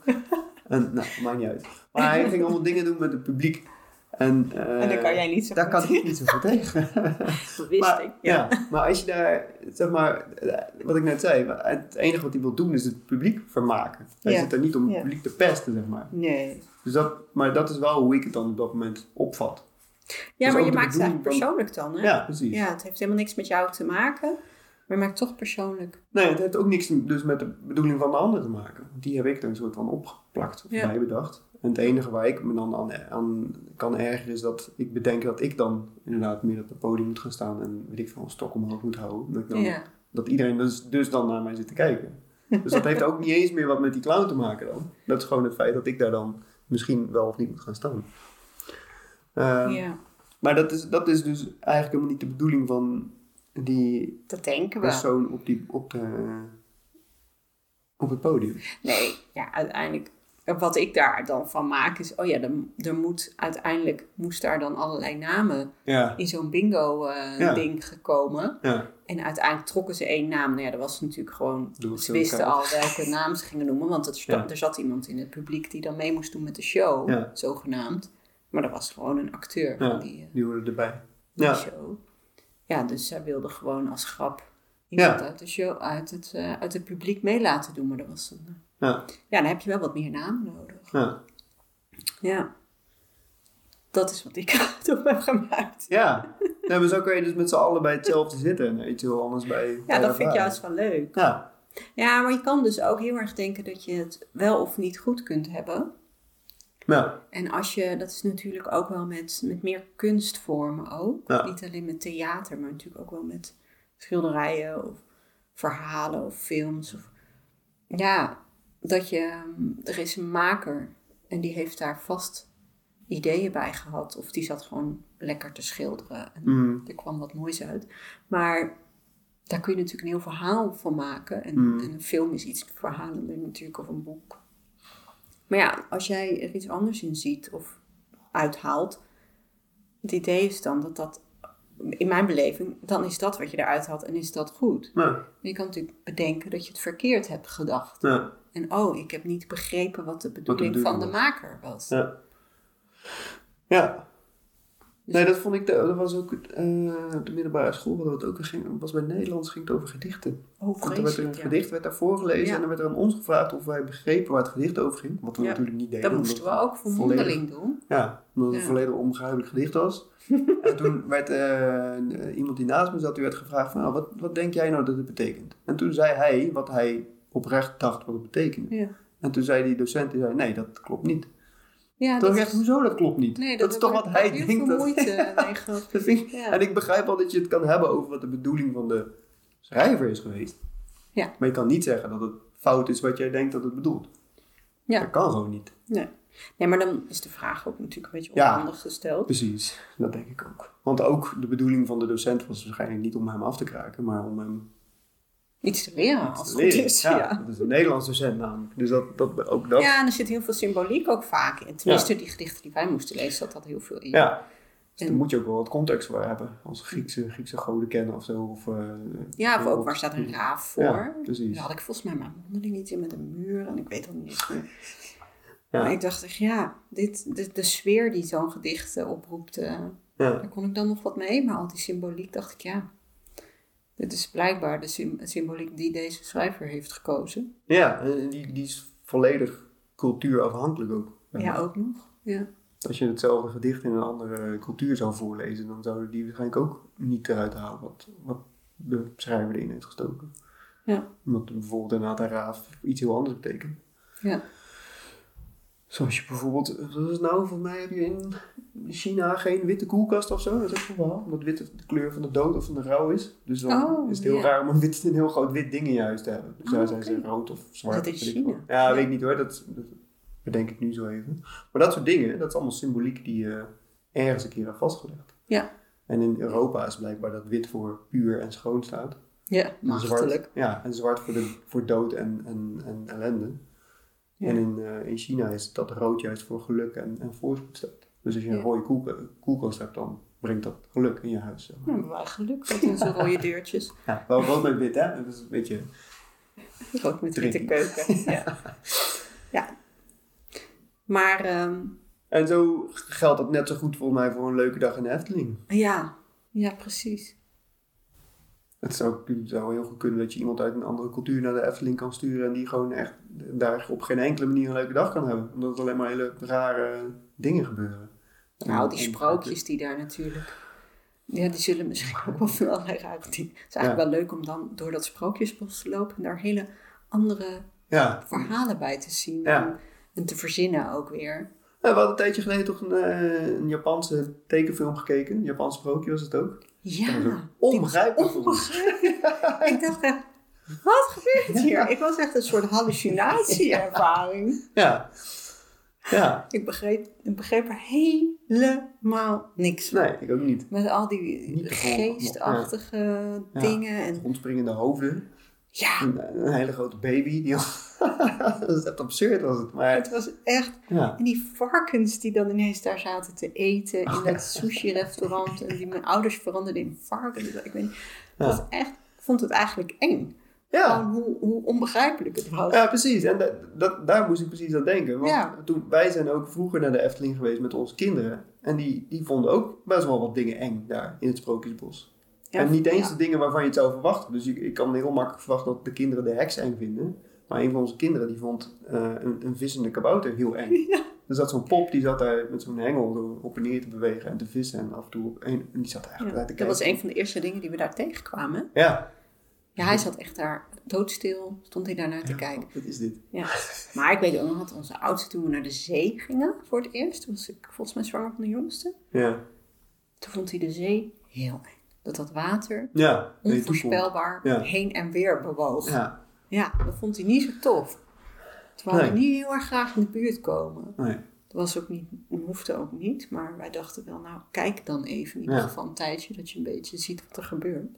Speaker 1: en, nou, maakt niet uit. Maar hij ging allemaal dingen doen met het publiek. En, eh,
Speaker 2: en daar kan jij niet zo
Speaker 1: daar
Speaker 2: goed
Speaker 1: kan ik niet zo goed tegen.
Speaker 2: [laughs] Dat wist
Speaker 1: [laughs] maar,
Speaker 2: ik. Ja.
Speaker 1: ja. maar als je daar, zeg maar, eh, wat ik net zei, het enige wat hij wil doen is het publiek vermaken. Hij
Speaker 2: Ja.
Speaker 1: zit er niet om het
Speaker 2: Ja.
Speaker 1: publiek te pesten, zeg maar.
Speaker 2: Nee.
Speaker 1: Dus dat, maar dat is wel hoe ik het dan op dat moment opvat.
Speaker 2: Ja,
Speaker 1: Dus
Speaker 2: maar
Speaker 1: ook
Speaker 2: je
Speaker 1: de
Speaker 2: maakt
Speaker 1: bedoeling
Speaker 2: het eigenlijk persoonlijk dan, hè?
Speaker 1: Ja, precies.
Speaker 2: Ja, het heeft helemaal niks met jou te maken. Maar je maakt het toch persoonlijk.
Speaker 1: Nee, het heeft ook niks dus met de bedoeling van de ander te maken. Die heb ik er een soort van opgeplakt of
Speaker 2: Ja.
Speaker 1: bijbedacht. En het enige waar ik me dan aan, aan kan ergeren is dat ik bedenk dat ik dan inderdaad meer op het podium moet gaan staan en weet ik veel, een stok omhoog moet houden. Dat, ik dan,
Speaker 2: Ja.
Speaker 1: dat iedereen dus, dus dan naar mij zit te kijken. Dus dat heeft ook niet eens meer wat met die clown te maken dan. Dat is gewoon het feit dat ik daar dan misschien wel of niet moet gaan staan. Ehm,
Speaker 2: ja.
Speaker 1: Maar dat is, dat is dus eigenlijk helemaal niet de bedoeling van die
Speaker 2: Dat denken we.
Speaker 1: persoon op, die, op, de, op het podium.
Speaker 2: Nee, ja, uiteindelijk. eh, Wat ik daar dan van maak is, oh ja, er, er moet uiteindelijk moest daar dan allerlei namen
Speaker 1: Ja.
Speaker 2: in zo'n bingo-ding
Speaker 1: Ja.
Speaker 2: gekomen.
Speaker 1: Ja.
Speaker 2: En uiteindelijk trokken ze één naam. Nou ja, dat was natuurlijk gewoon...
Speaker 1: Doe ik
Speaker 2: ze
Speaker 1: zo
Speaker 2: wisten
Speaker 1: elkaar.
Speaker 2: al welke naam ze gingen noemen. Want het sta-
Speaker 1: Ja.
Speaker 2: er zat iemand in het publiek die dan mee moest doen met de show.
Speaker 1: Ja.
Speaker 2: Zogenaamd. Maar dat was gewoon een acteur
Speaker 1: Ja.
Speaker 2: van die, eh,
Speaker 1: Die horen erbij.
Speaker 2: die
Speaker 1: Ja.
Speaker 2: show. Ja, dus zij wilde gewoon als grap... iemand
Speaker 1: Ja.
Speaker 2: uit, de show, uit, het, eh, uit het publiek mee laten doen. Maar dat was een... eh,
Speaker 1: Ja.
Speaker 2: ja, dan heb je wel wat meer namen nodig.
Speaker 1: Ja.
Speaker 2: Ja. Dat is wat ik [laughs] eruit op heb gemaakt.
Speaker 1: ja. Nee, maar zo kun je dus met z'n allen bij hetzelfde zitten en iets heel anders bij.
Speaker 2: Ja,
Speaker 1: bij
Speaker 2: dat vind ik
Speaker 1: elkaar.
Speaker 2: juist wel leuk.
Speaker 1: Ja.
Speaker 2: Ja, maar je kan dus ook heel erg denken dat je het wel of niet goed kunt hebben.
Speaker 1: Ja.
Speaker 2: En als je, dat is natuurlijk ook wel met, met meer kunstvormen ook.
Speaker 1: Ja.
Speaker 2: Niet alleen met theater, maar natuurlijk ook wel met schilderijen of verhalen of films. Of, ja, dat je, mm, er is een maker en die heeft daar vast ideeën bij gehad. Of die zat gewoon lekker te schilderen en
Speaker 1: Mm.
Speaker 2: er kwam wat moois uit. Maar daar kun je natuurlijk een heel verhaal van maken. En,
Speaker 1: Mm.
Speaker 2: en een film is iets verhalender natuurlijk, of een boek. Maar ja, als jij er iets anders in ziet of uithaalt, het idee is dan dat dat, in mijn beleving, dan is dat wat je eruit haalt en is dat goed.
Speaker 1: Ja.
Speaker 2: Maar je kan natuurlijk bedenken dat je het verkeerd hebt gedacht.
Speaker 1: Ja.
Speaker 2: En oh, ik heb niet begrepen wat de bedoeling van
Speaker 1: bedoeling
Speaker 2: de
Speaker 1: was.
Speaker 2: maker was.
Speaker 1: Ja. Ja. Nee, dat vond ik, de- dat was ook eh, op de middelbare school, wat het ook ging, was bij Nederlands, ging het over gedichten.
Speaker 2: Oh,
Speaker 1: Want er werd er een
Speaker 2: vreselijk, ja.
Speaker 1: gedicht werd daar voorgelezen
Speaker 2: Ja.
Speaker 1: en dan werd er aan ons gevraagd of wij begrepen waar het gedicht over ging. Wat we
Speaker 2: Ja.
Speaker 1: natuurlijk niet deden.
Speaker 2: Dat moesten we
Speaker 1: omdat
Speaker 2: ook voor
Speaker 1: volledig-
Speaker 2: mondeling doen.
Speaker 1: Ja, omdat het
Speaker 2: Ja.
Speaker 1: een volledig onbegrijpelijk gedicht
Speaker 2: [laughs]
Speaker 1: was. en toen werd nou eh, iemand die naast me zat, die werd gevraagd van, "Ah, wat, wat denk jij nou dat het betekent? En toen zei hij wat hij oprecht dacht wat het betekende.
Speaker 2: Ja.
Speaker 1: En toen zei die docent, die zei, nee, dat klopt niet.
Speaker 2: Ja,
Speaker 1: Toen
Speaker 2: dat
Speaker 1: dacht ik echt,
Speaker 2: is,
Speaker 1: hoezo dat klopt niet?
Speaker 2: nee,
Speaker 1: dat is toch
Speaker 2: heb
Speaker 1: wat
Speaker 2: ik
Speaker 1: hij
Speaker 2: heel
Speaker 1: denkt. [laughs]
Speaker 2: veel
Speaker 1: dat-
Speaker 2: moeite mee gehad.
Speaker 1: Dat vind ik-
Speaker 2: eh, Ja.
Speaker 1: En ik begrijp al dat je het kan hebben over wat de bedoeling van de schrijver is geweest.
Speaker 2: Ja.
Speaker 1: Maar je kan niet zeggen dat het fout is wat jij denkt dat het bedoelt.
Speaker 2: Ja.
Speaker 1: Dat kan gewoon niet.
Speaker 2: Nee. nee, maar dan is de vraag ook natuurlijk een beetje
Speaker 1: Ja.
Speaker 2: onhandig gesteld.
Speaker 1: Precies, dat denk ik ook. Want ook de bedoeling van de docent was waarschijnlijk niet om hem af te kraken, maar om hem
Speaker 2: Iets te leren,
Speaker 1: te
Speaker 2: als het goed
Speaker 1: leren.
Speaker 2: is. Ja.
Speaker 1: dat is een Nederlands docent namelijk. Dus dat, dat, ook dat.
Speaker 2: Ja, en er zit heel veel symboliek ook vaak in. Tenminste, die gedichten die wij moesten lezen, zat dat heel veel in.
Speaker 1: Ja. Dus
Speaker 2: En-
Speaker 1: dan moet je ook wel wat context voor hebben. Als Griekse, Griekse goden kennen of zo. Of, eh,
Speaker 2: Ja, of ook waar staat een raaf voor.
Speaker 1: Ja, precies.
Speaker 2: Daar had ik volgens mij mijn mondeling niet in met een muur en ik weet al niet eens meer.
Speaker 1: Ja.
Speaker 2: Maar ik dacht echt, ja, dit, de, de sfeer die zo'n gedicht eh, oproept, eh,
Speaker 1: Ja.
Speaker 2: daar kon ik dan nog wat mee. Maar al die symboliek dacht ik, ja, dit is blijkbaar de sym- symboliek die deze schrijver heeft gekozen.
Speaker 1: ja, en die, die is volledig cultuurafhankelijk ook.
Speaker 2: Ja, ook nog. Ja.
Speaker 1: Als je hetzelfde gedicht in een andere cultuur zou voorlezen, dan zouden die waarschijnlijk ook niet eruit halen wat, wat de schrijver erin heeft gestoken.
Speaker 2: Ja.
Speaker 1: Omdat bijvoorbeeld inderdaad een raaf iets heel anders betekent.
Speaker 2: Ja.
Speaker 1: Zoals je bijvoorbeeld, wat is het nou, volgens mij heb je in China geen witte koelkast of zo. Dat is ook een verhaal. Omdat wit de kleur van de dood of van de rouw is. Dus dan
Speaker 2: Oh,
Speaker 1: is het heel
Speaker 2: ja.
Speaker 1: raar om een, wit, een heel groot wit ding in je huis te hebben. Dus
Speaker 2: Oh,
Speaker 1: daar zijn ze
Speaker 2: oké.
Speaker 1: rood of zwart.
Speaker 2: Is dat in
Speaker 1: of weet ik wat.
Speaker 2: China?
Speaker 1: Ja,
Speaker 2: Ja.
Speaker 1: weet ik niet hoor. Dat, dat bedenk ik nu zo even. Maar dat soort dingen, dat is allemaal symboliek die je ergens een keer hebt vastgelegd.
Speaker 2: Ja.
Speaker 1: En in Europa is blijkbaar dat wit voor puur en schoon staat.
Speaker 2: Ja,
Speaker 1: En
Speaker 2: machtelijk.
Speaker 1: zwart, ja, en zwart voor, de, voor dood en, en, en ellende.
Speaker 2: Ja.
Speaker 1: En in, eh, in China is dat rood juist voor geluk en, en voorspoed staat. Dus als je een
Speaker 2: Ja.
Speaker 1: rode koelke- koelkast hebt, dan brengt dat geluk in je huis. zeg maar.
Speaker 2: Nou, hebben wij geluk
Speaker 1: [laughs]
Speaker 2: met onze rode deurtjes.
Speaker 1: Ja. Wel rood met wit, hè? Dat is een beetje...
Speaker 2: Rood met witte
Speaker 1: Tricky.
Speaker 2: keuken. Ja.
Speaker 1: [laughs]
Speaker 2: ja. Maar ehm,
Speaker 1: En zo geldt dat net zo goed voor mij voor een leuke dag in de Efteling.
Speaker 2: ja. ja, precies.
Speaker 1: Het zou, het zou heel goed kunnen dat je iemand uit een andere cultuur naar de Efteling kan sturen en die gewoon echt daar op geen enkele manier een leuke dag kan hebben. Omdat het alleen maar hele rare dingen gebeuren.
Speaker 2: Nou, die
Speaker 1: En- en-
Speaker 2: sprookjes die daar natuurlijk. Ja, die zullen misschien ook wel van allerlei raken. Die- Het is eigenlijk wel leuk om dan door dat sprookjesbos te lopen en daar hele andere
Speaker 1: Ja.
Speaker 2: verhalen bij te zien.
Speaker 1: Ja.
Speaker 2: En, en te verzinnen ook weer.
Speaker 1: Ja, We hadden een tijdje geleden toch een, eh, een Japanse tekenfilm gekeken. Een Japans sprookje was het ook.
Speaker 2: Ja,
Speaker 1: Onbegrijpelijk. voor ons.
Speaker 2: onbegrijpelijk. ik dacht echt, wat gebeurt hier? Ik was echt een soort hallucinatie-ervaring.
Speaker 1: Ja. Ja.
Speaker 2: Ik begreep, ik begreep er helemaal niks van.
Speaker 1: Nee, ik ook niet.
Speaker 2: Met al die
Speaker 1: Niet te volgen.
Speaker 2: geestachtige
Speaker 1: Ja.
Speaker 2: dingen. En,
Speaker 1: Rondspringende hoofden.
Speaker 2: ja,
Speaker 1: Een, een hele grote baby. Die... [laughs] dat is echt absurd was het. Maar
Speaker 2: het was echt...
Speaker 1: ja.
Speaker 2: En die varkens die dan ineens daar zaten te eten in
Speaker 1: Oh, ja.
Speaker 2: dat sushi-restaurant. En die mijn ouders veranderden in varkens. Ik, weet niet,
Speaker 1: Ja.
Speaker 2: dat was echt, ik vond het eigenlijk eng.
Speaker 1: ja.
Speaker 2: Gewoon hoe, hoe onbegrijpelijk het was.
Speaker 1: Ja, precies. En da- dat, daar moest ik precies aan denken. Want
Speaker 2: Ja.
Speaker 1: toen, wij zijn ook vroeger naar de Efteling geweest met onze kinderen. En die, die vonden ook best wel wat dingen eng daar in het Sprookjesbos.
Speaker 2: Ja,
Speaker 1: en niet eens
Speaker 2: ja.
Speaker 1: de dingen waarvan je het zou verwachten. Dus ik, ik kan heel makkelijk verwachten dat de kinderen de heks eng vinden. Maar een van onze kinderen die vond eh, een, een vissende kabouter heel eng.
Speaker 2: Ja.
Speaker 1: Er zat zo'n pop, die zat daar met zo'n hengel zo op en neer te bewegen en te vissen. En af en toe op en, en die zat eigenlijk
Speaker 2: Ja,
Speaker 1: daar te kijken.
Speaker 2: dat was een van de eerste dingen die we daar tegenkwamen.
Speaker 1: Ja.
Speaker 2: Ja, hij zat echt daar doodstil, stond hij daar naar te
Speaker 1: Mhm. Ja,
Speaker 2: kijken.
Speaker 1: Wat is dit?
Speaker 2: Ja,
Speaker 1: [laughs]
Speaker 2: maar ik weet ook nog dat onze oudste toen we naar de zee gingen voor het eerst, toen was ik volgens mij zwanger van de jongste,
Speaker 1: Ja.
Speaker 2: toen vond hij de zee heel eng. Dat dat water
Speaker 1: Ja. weet je,
Speaker 2: onvoorspelbaar
Speaker 1: Ja.
Speaker 2: heen en weer bewoog. Ja.
Speaker 1: Ja.
Speaker 2: dat vond hij niet zo tof. Toen wou
Speaker 1: Nee.
Speaker 2: we niet heel erg graag in de buurt komen.
Speaker 1: Nee.
Speaker 2: Dat was ook niet, hoefde ook niet, maar wij dachten wel, nou kijk dan even in ieder
Speaker 1: Ja.
Speaker 2: geval een tijdje, dat je een beetje ziet wat er gebeurt.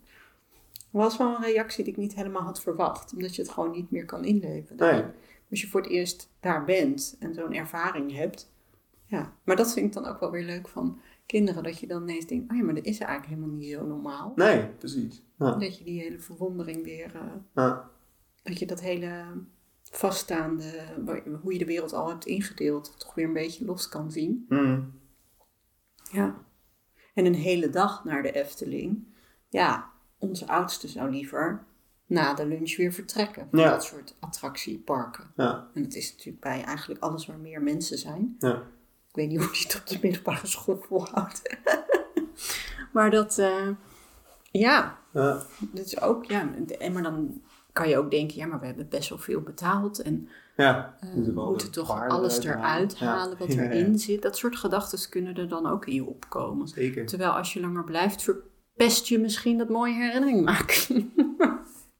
Speaker 2: Dat was wel een reactie die ik niet helemaal had verwacht, omdat je het gewoon niet meer kan inleven.
Speaker 1: Nee.
Speaker 2: Als je voor het eerst daar bent en zo'n ervaring hebt. Ja, maar dat vind ik dan ook wel weer leuk van kinderen. Dat je dan ineens denkt, oh ja, maar dat is eigenlijk helemaal niet zo normaal.
Speaker 1: Nee, precies. Ja.
Speaker 2: Dat je die hele verwondering weer, eh,
Speaker 1: Ja.
Speaker 2: dat je dat hele vaststaande, wa- hoe je de wereld al hebt ingedeeld, toch weer een beetje los kan zien.
Speaker 1: Mm.
Speaker 2: Ja. En een hele dag naar de Efteling. Ja, onze oudste zou liever na de lunch weer vertrekken. Van
Speaker 1: Ja.
Speaker 2: dat soort attractieparken.
Speaker 1: Ja,
Speaker 2: En dat is natuurlijk bij eigenlijk alles waar meer mensen zijn.
Speaker 1: ja.
Speaker 2: Ik weet niet hoe die het op de middelbare school volhoudt. [laughs] maar dat, eh, ja,
Speaker 1: ja.
Speaker 2: dat is ook, ja. En maar dan kan je ook denken, ja, maar we hebben best wel veel betaald. En
Speaker 1: Ja,
Speaker 2: eh,
Speaker 1: moeten
Speaker 2: we
Speaker 1: wel
Speaker 2: moeten
Speaker 1: de
Speaker 2: toch
Speaker 1: waarde
Speaker 2: alles
Speaker 1: eruit halen.
Speaker 2: eruit
Speaker 1: Ja.
Speaker 2: halen wat
Speaker 1: [laughs] Ja, ja.
Speaker 2: erin zit. Dat soort gedachten kunnen er dan ook in je opkomen.
Speaker 1: zeker.
Speaker 2: Terwijl als je langer blijft, verpest je misschien dat mooie herinnering maken. [laughs]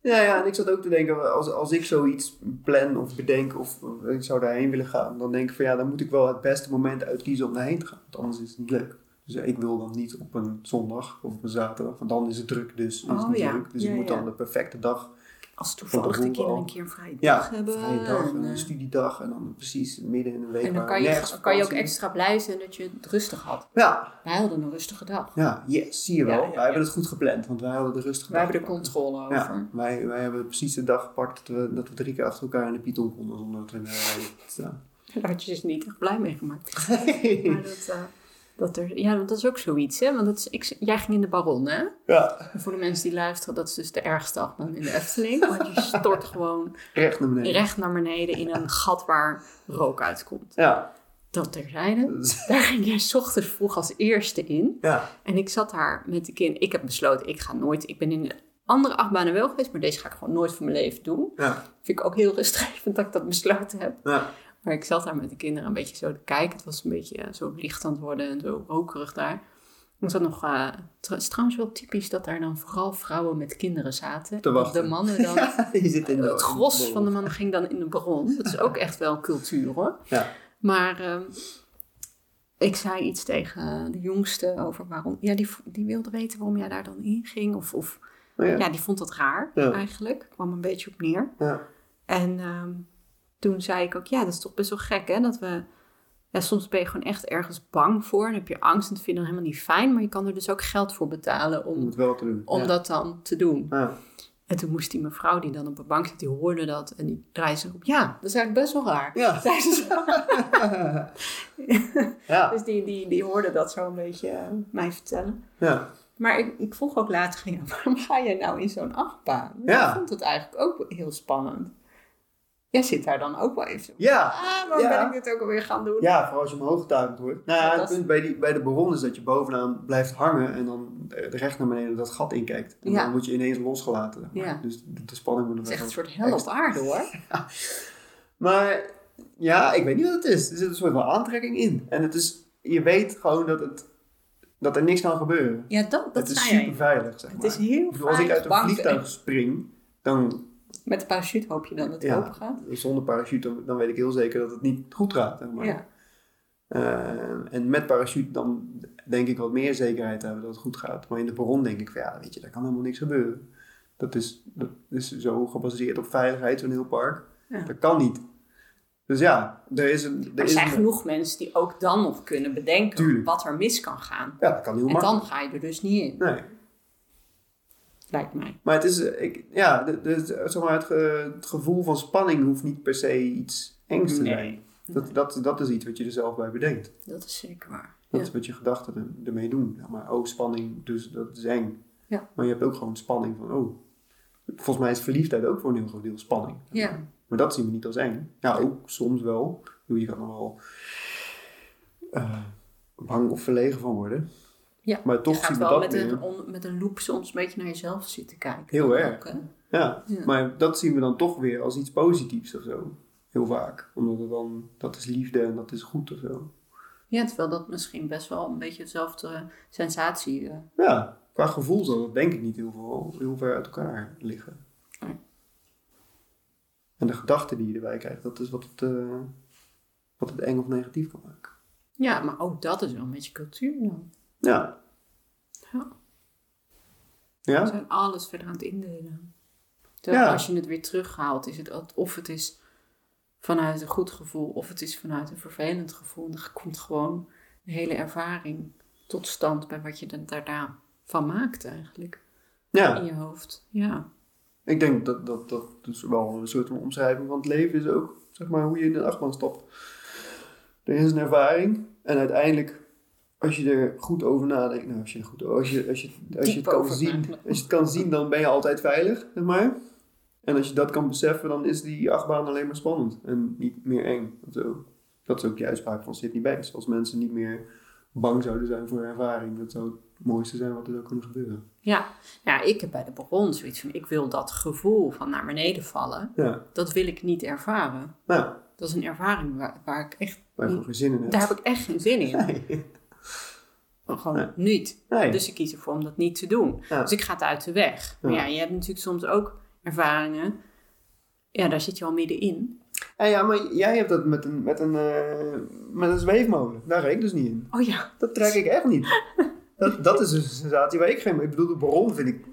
Speaker 1: Ja, ja, en ik zat ook te denken, als, als ik zoiets plan of bedenk of eh, ik zou daarheen willen gaan, dan denk ik van ja, dan moet ik wel het beste moment uitkiezen om daarheen te gaan. Want anders is het niet leuk. Dus ja, ik wil dan niet op een zondag of op een zaterdag, want dan is het druk, dus is het
Speaker 2: Oh,
Speaker 1: niet
Speaker 2: ja.
Speaker 1: leuk. Dus
Speaker 2: Ja,
Speaker 1: ik moet
Speaker 2: ja.
Speaker 1: dan de perfecte dag,
Speaker 2: Als toevallig de
Speaker 1: gevoel
Speaker 2: kinderen
Speaker 1: wel.
Speaker 2: een keer een vrije
Speaker 1: ja,
Speaker 2: dag hebben.
Speaker 1: vrije dag, en
Speaker 2: en, eh,
Speaker 1: een studiedag en dan precies midden in de week.
Speaker 2: en dan
Speaker 1: waar
Speaker 2: kan je,
Speaker 1: nergens
Speaker 2: kan je ook
Speaker 1: vakantie is.
Speaker 2: extra blij zijn dat je het rustig had.
Speaker 1: Ja,
Speaker 2: Wij hadden een rustige dag.
Speaker 1: ja, yes, zie je
Speaker 2: Ja,
Speaker 1: wel.
Speaker 2: ja,
Speaker 1: wij
Speaker 2: ja.
Speaker 1: hebben het goed gepland, want wij hadden de rustige
Speaker 2: Wij
Speaker 1: dag
Speaker 2: hebben de
Speaker 1: gepakt.
Speaker 2: controle over.
Speaker 1: Ja, wij, wij hebben precies de dag gepakt dat we, dat we drie keer achter elkaar in de Python konden zonder dat we in de rij staan.
Speaker 2: Daar had je dus niet echt blij mee gemaakt. Maar dat, eh, dat er, ja, want dat is ook zoiets, hè? Want dat is, ik, jij ging in de Baron, hè?
Speaker 1: ja,
Speaker 2: En voor de mensen die luisteren, dat is dus de ergste achtbaan in de Efteling. Want je stort gewoon
Speaker 1: recht naar beneden.
Speaker 2: recht naar beneden in een gat waar rook uitkomt.
Speaker 1: Ja.
Speaker 2: Dat terzijde.
Speaker 1: Dat is-
Speaker 2: Daar ging jij 's ochtends vroeg als eerste in.
Speaker 1: ja,
Speaker 2: En ik zat daar met de kind. Ik heb besloten, ik ga nooit... Ik ben in de andere achtbanen wel geweest, maar deze ga ik gewoon nooit van mijn leven doen.
Speaker 1: ja,
Speaker 2: Vind ik ook heel rustgevend dat ik dat besloten heb.
Speaker 1: ja.
Speaker 2: Maar ik zat daar met de kinderen een beetje zo te kijken. Het was een beetje eh, zo licht aan het worden en zo rokerig daar. Ik zat nog, eh, tr- het is trouwens wel typisch dat daar dan vooral vrouwen met kinderen zaten.
Speaker 1: Te wachten.
Speaker 2: De
Speaker 1: [laughs]
Speaker 2: mannen dan,
Speaker 1: je zit in de,
Speaker 2: het gros van de mannen ging dan in de bron. Dat is ook echt wel cultuur hoor.
Speaker 1: Ja.
Speaker 2: Maar ehm, ik zei iets tegen de jongste over waarom. Ja, die, v- die wilde weten waarom jij daar dan in ging. Of, of
Speaker 1: Oh ja.
Speaker 2: ja. die vond dat raar
Speaker 1: Ja.
Speaker 2: eigenlijk. Kwam een beetje op neer.
Speaker 1: Ja.
Speaker 2: En ehm, toen zei ik ook, ja, dat is toch best wel gek, hè? Dat we, ja, soms ben je gewoon echt ergens bang voor en heb je angst en dat vind je dan helemaal niet fijn, maar je kan er dus ook geld voor betalen
Speaker 1: Om
Speaker 2: om,
Speaker 1: het wel te doen.
Speaker 2: om
Speaker 1: Mm, ja.
Speaker 2: dat dan te doen.
Speaker 1: Ja.
Speaker 2: En toen moest die mevrouw die dan op een bank zit, die hoorde dat en die draaide zich op, ja, dat is eigenlijk best wel raar.
Speaker 1: Ja.
Speaker 2: [laughs] Zei ze zo.
Speaker 1: Ja.
Speaker 2: Dus die, die, die hoorde dat zo een beetje eh, mij vertellen.
Speaker 1: Ja.
Speaker 2: Maar ik, ik vroeg ook later, ging, waarom ga jij nou in zo'n achtbaan? Want
Speaker 1: Ja.
Speaker 2: Ik vond het eigenlijk ook heel spannend. Jij zit daar dan ook wel even zo
Speaker 1: Ja.
Speaker 2: Ah, waarom
Speaker 1: Ja.
Speaker 2: ben ik dit ook alweer gaan doen?
Speaker 1: Ja, vooral als je omhoog getuigd wordt. Nou ja,
Speaker 2: Ja,
Speaker 1: het
Speaker 2: dat-
Speaker 1: punt bij, die, bij de baron is dat je bovenaan blijft hangen en dan eh, recht naar beneden dat gat inkijkt. En
Speaker 2: Ja.
Speaker 1: dan word je ineens losgelaten. zeg maar.
Speaker 2: Ja.
Speaker 1: Dus de, de spanning moet nog
Speaker 2: Het is echt
Speaker 1: wel-
Speaker 2: een soort hel op aarde hoor.
Speaker 1: Maar ja, ik weet niet wat het is. Er zit een soort van aantrekking in. En het is, je weet gewoon dat, het, dat er niks kan gebeuren.
Speaker 2: Ja, dat, dat
Speaker 1: het is
Speaker 2: zei
Speaker 1: super
Speaker 2: jij.
Speaker 1: veilig, zeg
Speaker 2: Het
Speaker 1: maar.
Speaker 2: is heel
Speaker 1: Ik bedoel, als ik
Speaker 2: veilig
Speaker 1: uit een
Speaker 2: banken.
Speaker 1: vliegtuig spring, dan
Speaker 2: Met de parachute hoop je dan dat het
Speaker 1: Ja.
Speaker 2: open gaat.
Speaker 1: zonder parachute, dan, dan weet ik heel zeker dat het niet goed gaat. Zeg maar.
Speaker 2: Ja.
Speaker 1: Eh, en met parachute dan denk ik wat meer zekerheid hebben dat het goed gaat. Maar in de perron denk ik van ja, weet je, daar kan helemaal niks gebeuren. Dat is, dat is zo gebaseerd op veiligheid, zo'n heel park.
Speaker 2: Ja.
Speaker 1: Dat kan niet. Dus ja, er is een... Er
Speaker 2: Er
Speaker 1: is
Speaker 2: zijn
Speaker 1: een-
Speaker 2: genoeg mensen die ook dan nog kunnen bedenken
Speaker 1: Tuurlijk.
Speaker 2: wat er mis kan gaan.
Speaker 1: Ja, dat kan heel
Speaker 2: En
Speaker 1: makkelijk.
Speaker 2: dan ga je er dus niet in,
Speaker 1: Nee.
Speaker 2: lijkt mij.
Speaker 1: Maar het is, eh, ik, ja, de, de- zeg maar, het, ge- het gevoel van spanning hoeft niet per se iets engs te
Speaker 2: Nee.
Speaker 1: zijn. Dat, dat, dat is iets wat je er zelf bij bedenkt.
Speaker 2: Dat is zeker waar.
Speaker 1: Dat
Speaker 2: Ja.
Speaker 1: is wat je gedachten er- ermee doen. Zeg maar, oh, spanning, dus dat is eng.
Speaker 2: Ja.
Speaker 1: Maar je hebt ook gewoon spanning van, oh. Volgens mij is verliefdheid ook voor een heel groot deel spanning.
Speaker 2: Ja.
Speaker 1: Maar dat zien we niet als eng. Ja, ook soms wel. Ik bedoel, Je kan er wel eh, bang of verlegen van worden.
Speaker 2: Ja.
Speaker 1: Maar toch
Speaker 2: je gaat
Speaker 1: zien we
Speaker 2: wel
Speaker 1: dat
Speaker 2: met
Speaker 1: meer.
Speaker 2: een, on- met een loop soms een beetje naar jezelf zitten kijken.
Speaker 1: Heel
Speaker 2: Dan
Speaker 1: erg.
Speaker 2: ook, hè.
Speaker 1: Ja,
Speaker 2: Ja.
Speaker 1: maar dat zien we dan toch weer als iets positiefs of zo. Heel vaak. Omdat het dan, dat is liefde en dat is goed of zo.
Speaker 2: ja, terwijl dat misschien best wel een beetje dezelfde sensatie eh,
Speaker 1: Ja, qua gevoel zal dat denk ik niet heel, veel, heel ver uit elkaar liggen.
Speaker 2: Nee.
Speaker 1: En de gedachten die je erbij krijgt, dat is wat het, eh, wat het eng of negatief kan maken.
Speaker 2: Ja, maar ook dat is wel een beetje cultuur dan.
Speaker 1: Ja.
Speaker 2: Ja. We
Speaker 1: Ja?
Speaker 2: zijn alles verder aan het indelen. Terwijl
Speaker 1: Ja.
Speaker 2: als je het weer terughaalt, is het al- of het is vanuit een goed gevoel of het is vanuit een vervelend gevoel. En dan komt gewoon de hele ervaring tot stand bij wat je dan daarna van maakt eigenlijk
Speaker 1: Ja.
Speaker 2: in je hoofd. Ja,
Speaker 1: Ik denk dat dat, dat dus wel een soort van omschrijving van het leven is ook, zeg maar, hoe je in een achtbaan stapt. Er is een ervaring en uiteindelijk, als je er goed over nadenkt, nou, als je, er goed, als je, als je, als je,
Speaker 2: Diep
Speaker 1: het, kan
Speaker 2: over
Speaker 1: zien,
Speaker 2: nadenken.
Speaker 1: als je het kan zien, dan ben je altijd veilig, zeg maar. En als je dat kan beseffen, dan is die achtbaan alleen maar spannend en niet meer eng. of zo. Dat is ook die uitspraak van Sidney Banks. Als mensen niet meer bang zouden zijn voor ervaring. Dat zou het mooiste zijn wat er zou kunnen gebeuren.
Speaker 2: Ja. ja, ik heb bij de bron zoiets van, ik wil dat gevoel van naar beneden vallen,
Speaker 1: Ja,
Speaker 2: dat wil ik niet ervaren.
Speaker 1: nou,
Speaker 2: Dat is een ervaring waar, waar ik echt,
Speaker 1: wij hebben geen zin in het.
Speaker 2: daar heb ik echt geen zin
Speaker 1: [laughs]
Speaker 2: in.
Speaker 1: Nee.
Speaker 2: Oh, Gewoon
Speaker 1: Nee.
Speaker 2: niet.
Speaker 1: Nee.
Speaker 2: Dus ik kies ervoor om dat niet te doen.
Speaker 1: Ja.
Speaker 2: Dus ik ga het uit de weg. Maar
Speaker 1: Ja.
Speaker 2: ja, je hebt natuurlijk soms ook ervaringen. Ja, daar zit je al middenin.
Speaker 1: En ja, maar jij hebt dat met een, met, een, eh, met een zweefmolen. Daar ga ik dus niet in.
Speaker 2: Oh ja.
Speaker 1: Dat trek ik echt niet. Dat, dat is dus een sensatie waar ik geen... Ik bedoel, de bron vind ik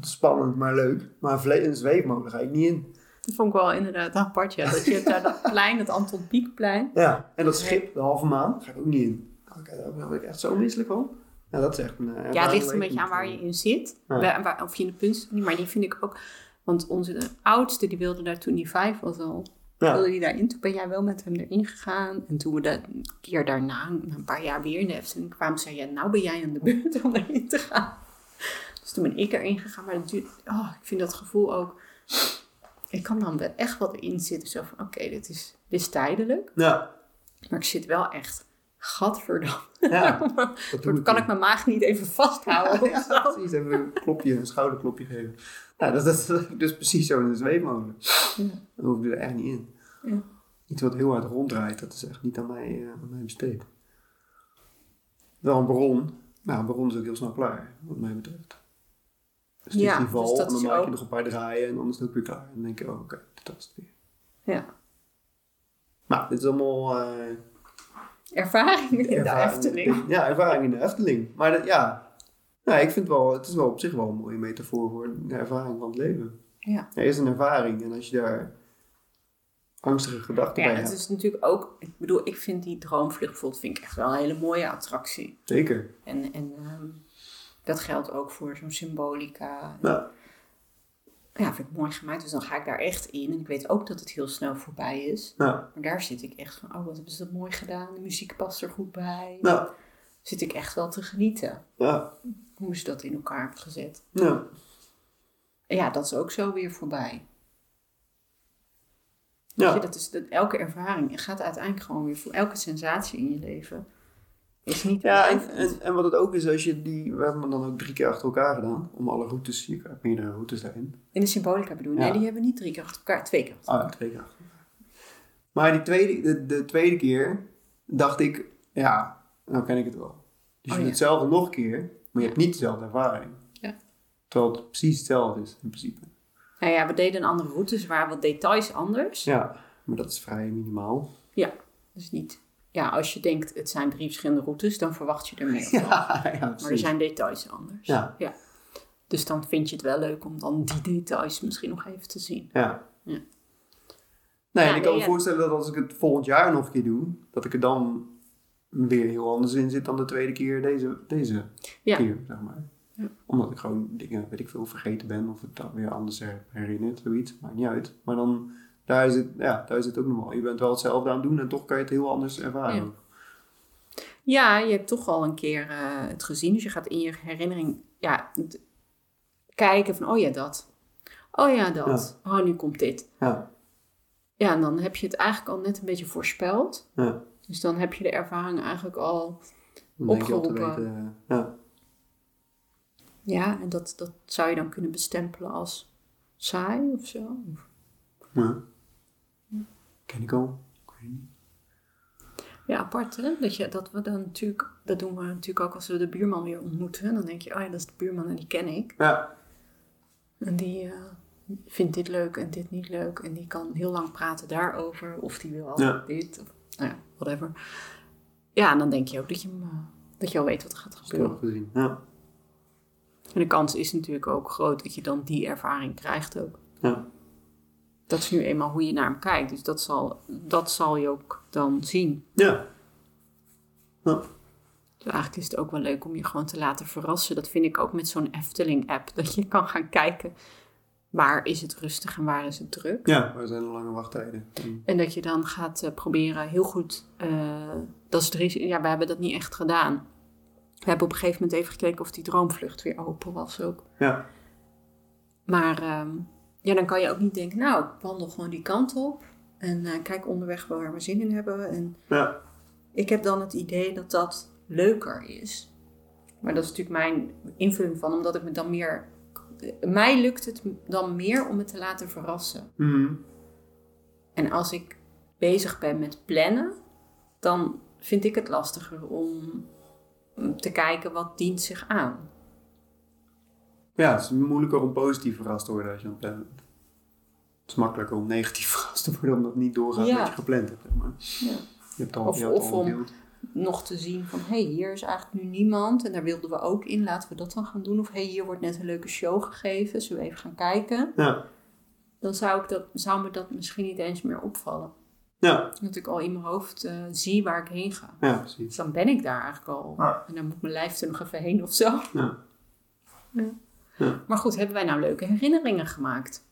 Speaker 1: spannend, maar leuk. Maar vle- een zweefmolen ga ik niet in.
Speaker 2: Dat vond ik wel inderdaad apart, ja. Dat je hebt daar dat plein, het Anton Pieckplein.
Speaker 1: Ja. En dat schip, de halve maan, ga ik ook niet in. Oké, daar word ik echt zo misselijk van. Ja, dat is echt een... eh,
Speaker 2: Ja, het ligt
Speaker 1: waar
Speaker 2: een
Speaker 1: ik
Speaker 2: beetje aan
Speaker 1: niet-
Speaker 2: waar je in zit.
Speaker 1: Ja.
Speaker 2: Waar- waar- of je in de punt zit. Maar die vind ik ook... Want onze oudste, die wilde daar toen die vijf was al.
Speaker 1: Ja.
Speaker 2: Wilde die daarin. Toen ben jij wel met hem erin gegaan. En toen we de keer daarna, na een paar jaar weer in de Efteling kwamen, zei jij, nou ben jij aan de beurt om erin te gaan. Dus toen ben ik erin gegaan. Maar dat duurt, oh, ik vind dat gevoel ook... Ik kan dan wel echt wat erin zitten. Zo van, oké, dit, is, dit is tijdelijk.
Speaker 1: Ja.
Speaker 2: Maar ik zit wel echt... Gadverdamme.
Speaker 1: Ja. Dat doe
Speaker 2: Dan kan ik mijn maag niet even
Speaker 1: [laughs]
Speaker 2: vasthouden.
Speaker 1: Ja,
Speaker 2: of zo.
Speaker 1: precies. Even een klopje, een schouderklopje geven. Nou, dat, dat, dat- dus precies zo in een zweefmolen.
Speaker 2: Ja.
Speaker 1: Dan hoef ik er echt niet in.
Speaker 2: Ja.
Speaker 1: Iets wat heel hard ronddraait, dat is echt niet aan mij, eh, aan mij besteed. Wel een bron. Nou, een bron is ook heel snel klaar, wat mij betreft. Dus
Speaker 2: Ja,
Speaker 1: ja, die
Speaker 2: dus
Speaker 1: val,
Speaker 2: dat
Speaker 1: en dan
Speaker 2: is
Speaker 1: maak je
Speaker 2: ook-
Speaker 1: nog een paar draaien en dan is het ook weer klaar. En dan denk je, oh, oké, dat is het weer.
Speaker 2: Ja.
Speaker 1: Nou, dit is allemaal... eh,
Speaker 2: Ervaring in de
Speaker 1: ervaring-
Speaker 2: Efteling.
Speaker 1: [laughs] Ja, ervaring in de Efteling. Maar dat, ja, nou, ik vind wel, het is wel op zich wel een mooie metafoor voor de ervaring van het leven.
Speaker 2: Ja.
Speaker 1: Er is een ervaring en als je daar angstige gedachten
Speaker 2: Ja,
Speaker 1: bij
Speaker 2: het
Speaker 1: hebt,
Speaker 2: is natuurlijk ook... Ik bedoel, ik vind die droomvlucht bijvoorbeeld vind ik echt wel een hele mooie attractie.
Speaker 1: zeker.
Speaker 2: En, en ehm, dat geldt ook voor zo'n symbolica.
Speaker 1: Nou,
Speaker 2: Ja, vind ik mooi gemaakt. Dus dan ga ik daar echt in. En ik weet ook dat het heel snel voorbij is.
Speaker 1: nou,
Speaker 2: Maar daar zit ik echt van... Oh, wat hebben ze dat mooi gedaan. De muziek past er goed bij.
Speaker 1: nou,
Speaker 2: Zit ik echt wel te genieten.
Speaker 1: ja,
Speaker 2: Hoe ze dat in elkaar hebben gezet.
Speaker 1: nou.
Speaker 2: En ja, dat is ook zo weer voorbij. Weet
Speaker 1: Ja,
Speaker 2: je, dat is, dat, elke ervaring gaat uiteindelijk gewoon weer voor elke sensatie in je leven. Is niet
Speaker 1: ja en,
Speaker 2: blijvend.
Speaker 1: en, en wat het ook is, als je die, we hebben hem dan ook drie keer achter elkaar gedaan, om alle routes, je hebt meerdere routes daarin.
Speaker 2: In de symbolica bedoel je? Nee,
Speaker 1: Ja.
Speaker 2: die hebben we niet drie keer achter elkaar. Twee keer achter
Speaker 1: Ah, ja, twee keer achter elkaar. Maar die tweede, de, de tweede keer dacht ik, ja, nou ken ik het wel. Dus je
Speaker 2: Oh,
Speaker 1: doet
Speaker 2: ja.
Speaker 1: hetzelfde nog een keer, maar je hebt niet dezelfde ervaring.
Speaker 2: Ja.
Speaker 1: Terwijl het precies hetzelfde is, in principe.
Speaker 2: Nou ja, we deden een andere route, dus er waren wat details anders.
Speaker 1: Ja, maar dat is vrij minimaal. [laughs]
Speaker 2: Dus niet... Ja, als je denkt het zijn drie verschillende routes, dan verwacht je er meer. van.
Speaker 1: Ja, ja
Speaker 2: maar er
Speaker 1: precies.
Speaker 2: zijn details anders.
Speaker 1: Ja.
Speaker 2: Dus dan vind je het wel leuk om dan die details misschien nog even te zien.
Speaker 1: Ja.
Speaker 2: Ja.
Speaker 1: Nee,
Speaker 2: Ja,
Speaker 1: en ik
Speaker 2: nee,
Speaker 1: kan me
Speaker 2: ja.
Speaker 1: voorstellen dat als ik het volgend jaar nog een keer doe, dat ik er dan weer heel anders in zit dan de tweede keer deze, deze
Speaker 2: Ja.
Speaker 1: keer, zeg maar.
Speaker 2: Ja.
Speaker 1: Omdat ik gewoon dingen, weet ik veel, vergeten ben of het dan weer anders her- herinnert, zoiets, maakt niet uit. Maar dan, daar is het, ja, daar is het ook nog wel. Je bent wel hetzelfde aan het doen en toch kan je het heel anders ervaren.
Speaker 2: Ja. Ja, je hebt toch al een keer eh, het gezien. Dus je gaat in je herinnering ja, het- kijken van, oh ja, dat. Oh ja, dat. Oh, nu komt dit.
Speaker 1: Ja,
Speaker 2: Ja, en dan heb je het eigenlijk al net een beetje voorspeld.
Speaker 1: ja.
Speaker 2: Dus dan heb je de ervaring eigenlijk al.
Speaker 1: Dan denk je al te
Speaker 2: Opgeroepen.
Speaker 1: weten, eh, ja.
Speaker 2: Ja, en dat, dat zou je dan kunnen bestempelen als saai of zo.
Speaker 1: ja. Ken ik al. Ik weet niet.
Speaker 2: Ja, apart hè. Dat, je, dat, we dan natuurlijk, dat doen we natuurlijk ook als we de buurman weer ontmoeten. Dan denk je, oh ja, dat is de buurman en die ken ik.
Speaker 1: Ja,
Speaker 2: En die eh, vindt dit leuk en dit niet leuk. En die kan heel lang praten daarover. Of die wil altijd
Speaker 1: Ja.
Speaker 2: dit. Of, nou ja, whatever. Ja, en dan denk je ook dat je, hem, eh, dat je al weet wat er gaat
Speaker 1: heb ik
Speaker 2: gebeuren.
Speaker 1: al gezien. Ja.
Speaker 2: En de kans is natuurlijk ook groot dat je dan die ervaring krijgt ook.
Speaker 1: Ja.
Speaker 2: Dat is nu eenmaal hoe je naar hem kijkt. Dus dat zal, dat zal je ook dan zien.
Speaker 1: Ja. Ja.
Speaker 2: Dus eigenlijk is het ook wel leuk om je gewoon te laten verrassen. Dat vind ik ook met zo'n Efteling-app. [laughs] Dat je kan gaan kijken waar is het rustig en waar is het druk.
Speaker 1: Ja, waar zijn de lange wachttijden? Hmm. En-
Speaker 2: En dat je dan gaat eh, proberen heel goed. eh, dat is het risico. Ja, we hebben dat niet echt gedaan. We hebben op een gegeven moment even gekeken of die droomvlucht weer open was ook.
Speaker 1: Ja,
Speaker 2: Maar ehm, ja, dan kan je ook niet denken, nou, ik wandel gewoon die kant op. En eh, kijk onderweg waar we zin in hebben. En
Speaker 1: ja,
Speaker 2: ik heb dan het idee dat dat leuker is. Maar dat is natuurlijk mijn invulling van, omdat ik me dan meer. Mij lukt het dan meer om me te laten verrassen.
Speaker 1: Mhm.
Speaker 2: En als ik bezig ben met plannen, dan vind ik het lastiger om te kijken wat dient zich aan.
Speaker 1: Ja, het is moeilijker om positief verrast te worden als je aan het plannen bent. Het is makkelijker om negatief [laughs] verrast te worden omdat het niet doorgaat
Speaker 2: Ja.
Speaker 1: wat je gepland hebt. zeg Maar
Speaker 2: Ja.
Speaker 1: je hebt al,
Speaker 2: Of-
Speaker 1: je hebt al
Speaker 2: of
Speaker 1: een
Speaker 2: om-
Speaker 1: beeld.
Speaker 2: Nog te zien van, hé, hey, hier is eigenlijk nu niemand en daar wilden we ook in, laten we dat dan gaan doen. Of hé, hey, hier wordt net een leuke show gegeven, zullen we even gaan kijken.
Speaker 1: Ja.
Speaker 2: Dan zou, ik dat, zou me dat misschien niet eens meer opvallen.
Speaker 1: Ja.
Speaker 2: Dat ik al in mijn hoofd eh, zie waar ik heen ga.
Speaker 1: ja, precies.
Speaker 2: Dus dan ben ik daar eigenlijk al.
Speaker 1: Ja.
Speaker 2: En dan moet mijn lijf er nog even heen of zo.
Speaker 1: Ja.
Speaker 2: Maar goed, hebben wij nou leuke herinneringen gemaakt?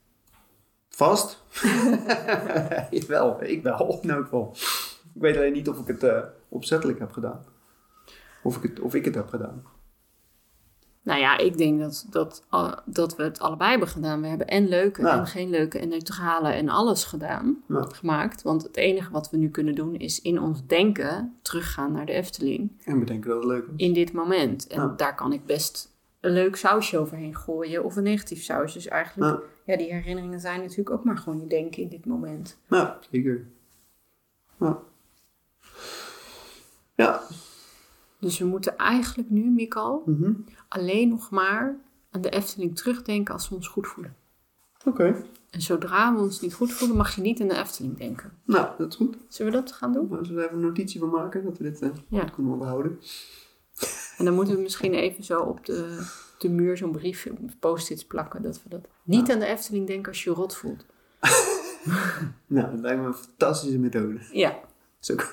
Speaker 1: Vast? [laughs] Jawel, ik wel. In elk geval. Ik weet alleen niet of ik het eh, opzettelijk heb gedaan. Of ik, het, of ik het heb gedaan.
Speaker 2: Nou ja, ik denk dat, dat, al- dat we het allebei hebben gedaan. We hebben en leuke
Speaker 1: Ja.
Speaker 2: en geen leuke en neutrale en alles gedaan,
Speaker 1: Ja.
Speaker 2: gemaakt. Want het enige wat we nu kunnen doen is in ons denken teruggaan naar de Efteling.
Speaker 1: En bedenken dat het leuk was.
Speaker 2: In dit moment. En
Speaker 1: Ja.
Speaker 2: daar kan ik best een leuk sausje overheen gooien of een negatief sausje. Dus eigenlijk, ja, die herinneringen zijn natuurlijk ook maar gewoon je denken in dit moment.
Speaker 1: Ja, zeker. Ja. Ja.
Speaker 2: Dus we moeten eigenlijk nu, Mikal,
Speaker 1: Mhm.
Speaker 2: alleen nog maar aan de Efteling terugdenken als we ons goed voelen.
Speaker 1: Oké.
Speaker 2: En zodra we ons niet goed voelen, mag je niet aan de Efteling denken.
Speaker 1: Nou, dat is goed.
Speaker 2: Zullen we dat gaan doen?
Speaker 1: Zullen we even een notitie van maken dat we dit eh,
Speaker 2: Ja.
Speaker 1: kunnen behouden?
Speaker 2: En dan moeten we misschien even zo op de, de muur zo'n briefje, post-its plakken. Dat we dat niet aan de Efteling denken als je je rot voelt.
Speaker 1: Nou, dat lijkt me een fantastische methode. Dat
Speaker 2: Ja,
Speaker 1: is ook... [laughs]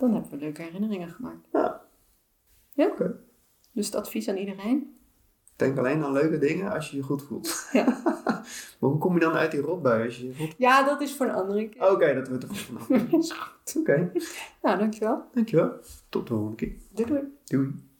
Speaker 2: dan hebben we leuke herinneringen gemaakt.
Speaker 1: Ja.
Speaker 2: Ja?
Speaker 1: Oké.
Speaker 2: Dus het advies aan iedereen?
Speaker 1: Denk alleen aan leuke dingen als je je goed voelt.
Speaker 2: Ja.
Speaker 1: [laughs] maar hoe kom je dan uit die rotbui als je je goed
Speaker 2: Ja, dat is voor een andere keer.
Speaker 1: Oké, dat wordt er goed [laughs] vanaf. Oké,
Speaker 2: Is goed. Nou, dankjewel.
Speaker 1: dankjewel. Tot de volgende keer.
Speaker 2: Doei doei.
Speaker 1: Doei.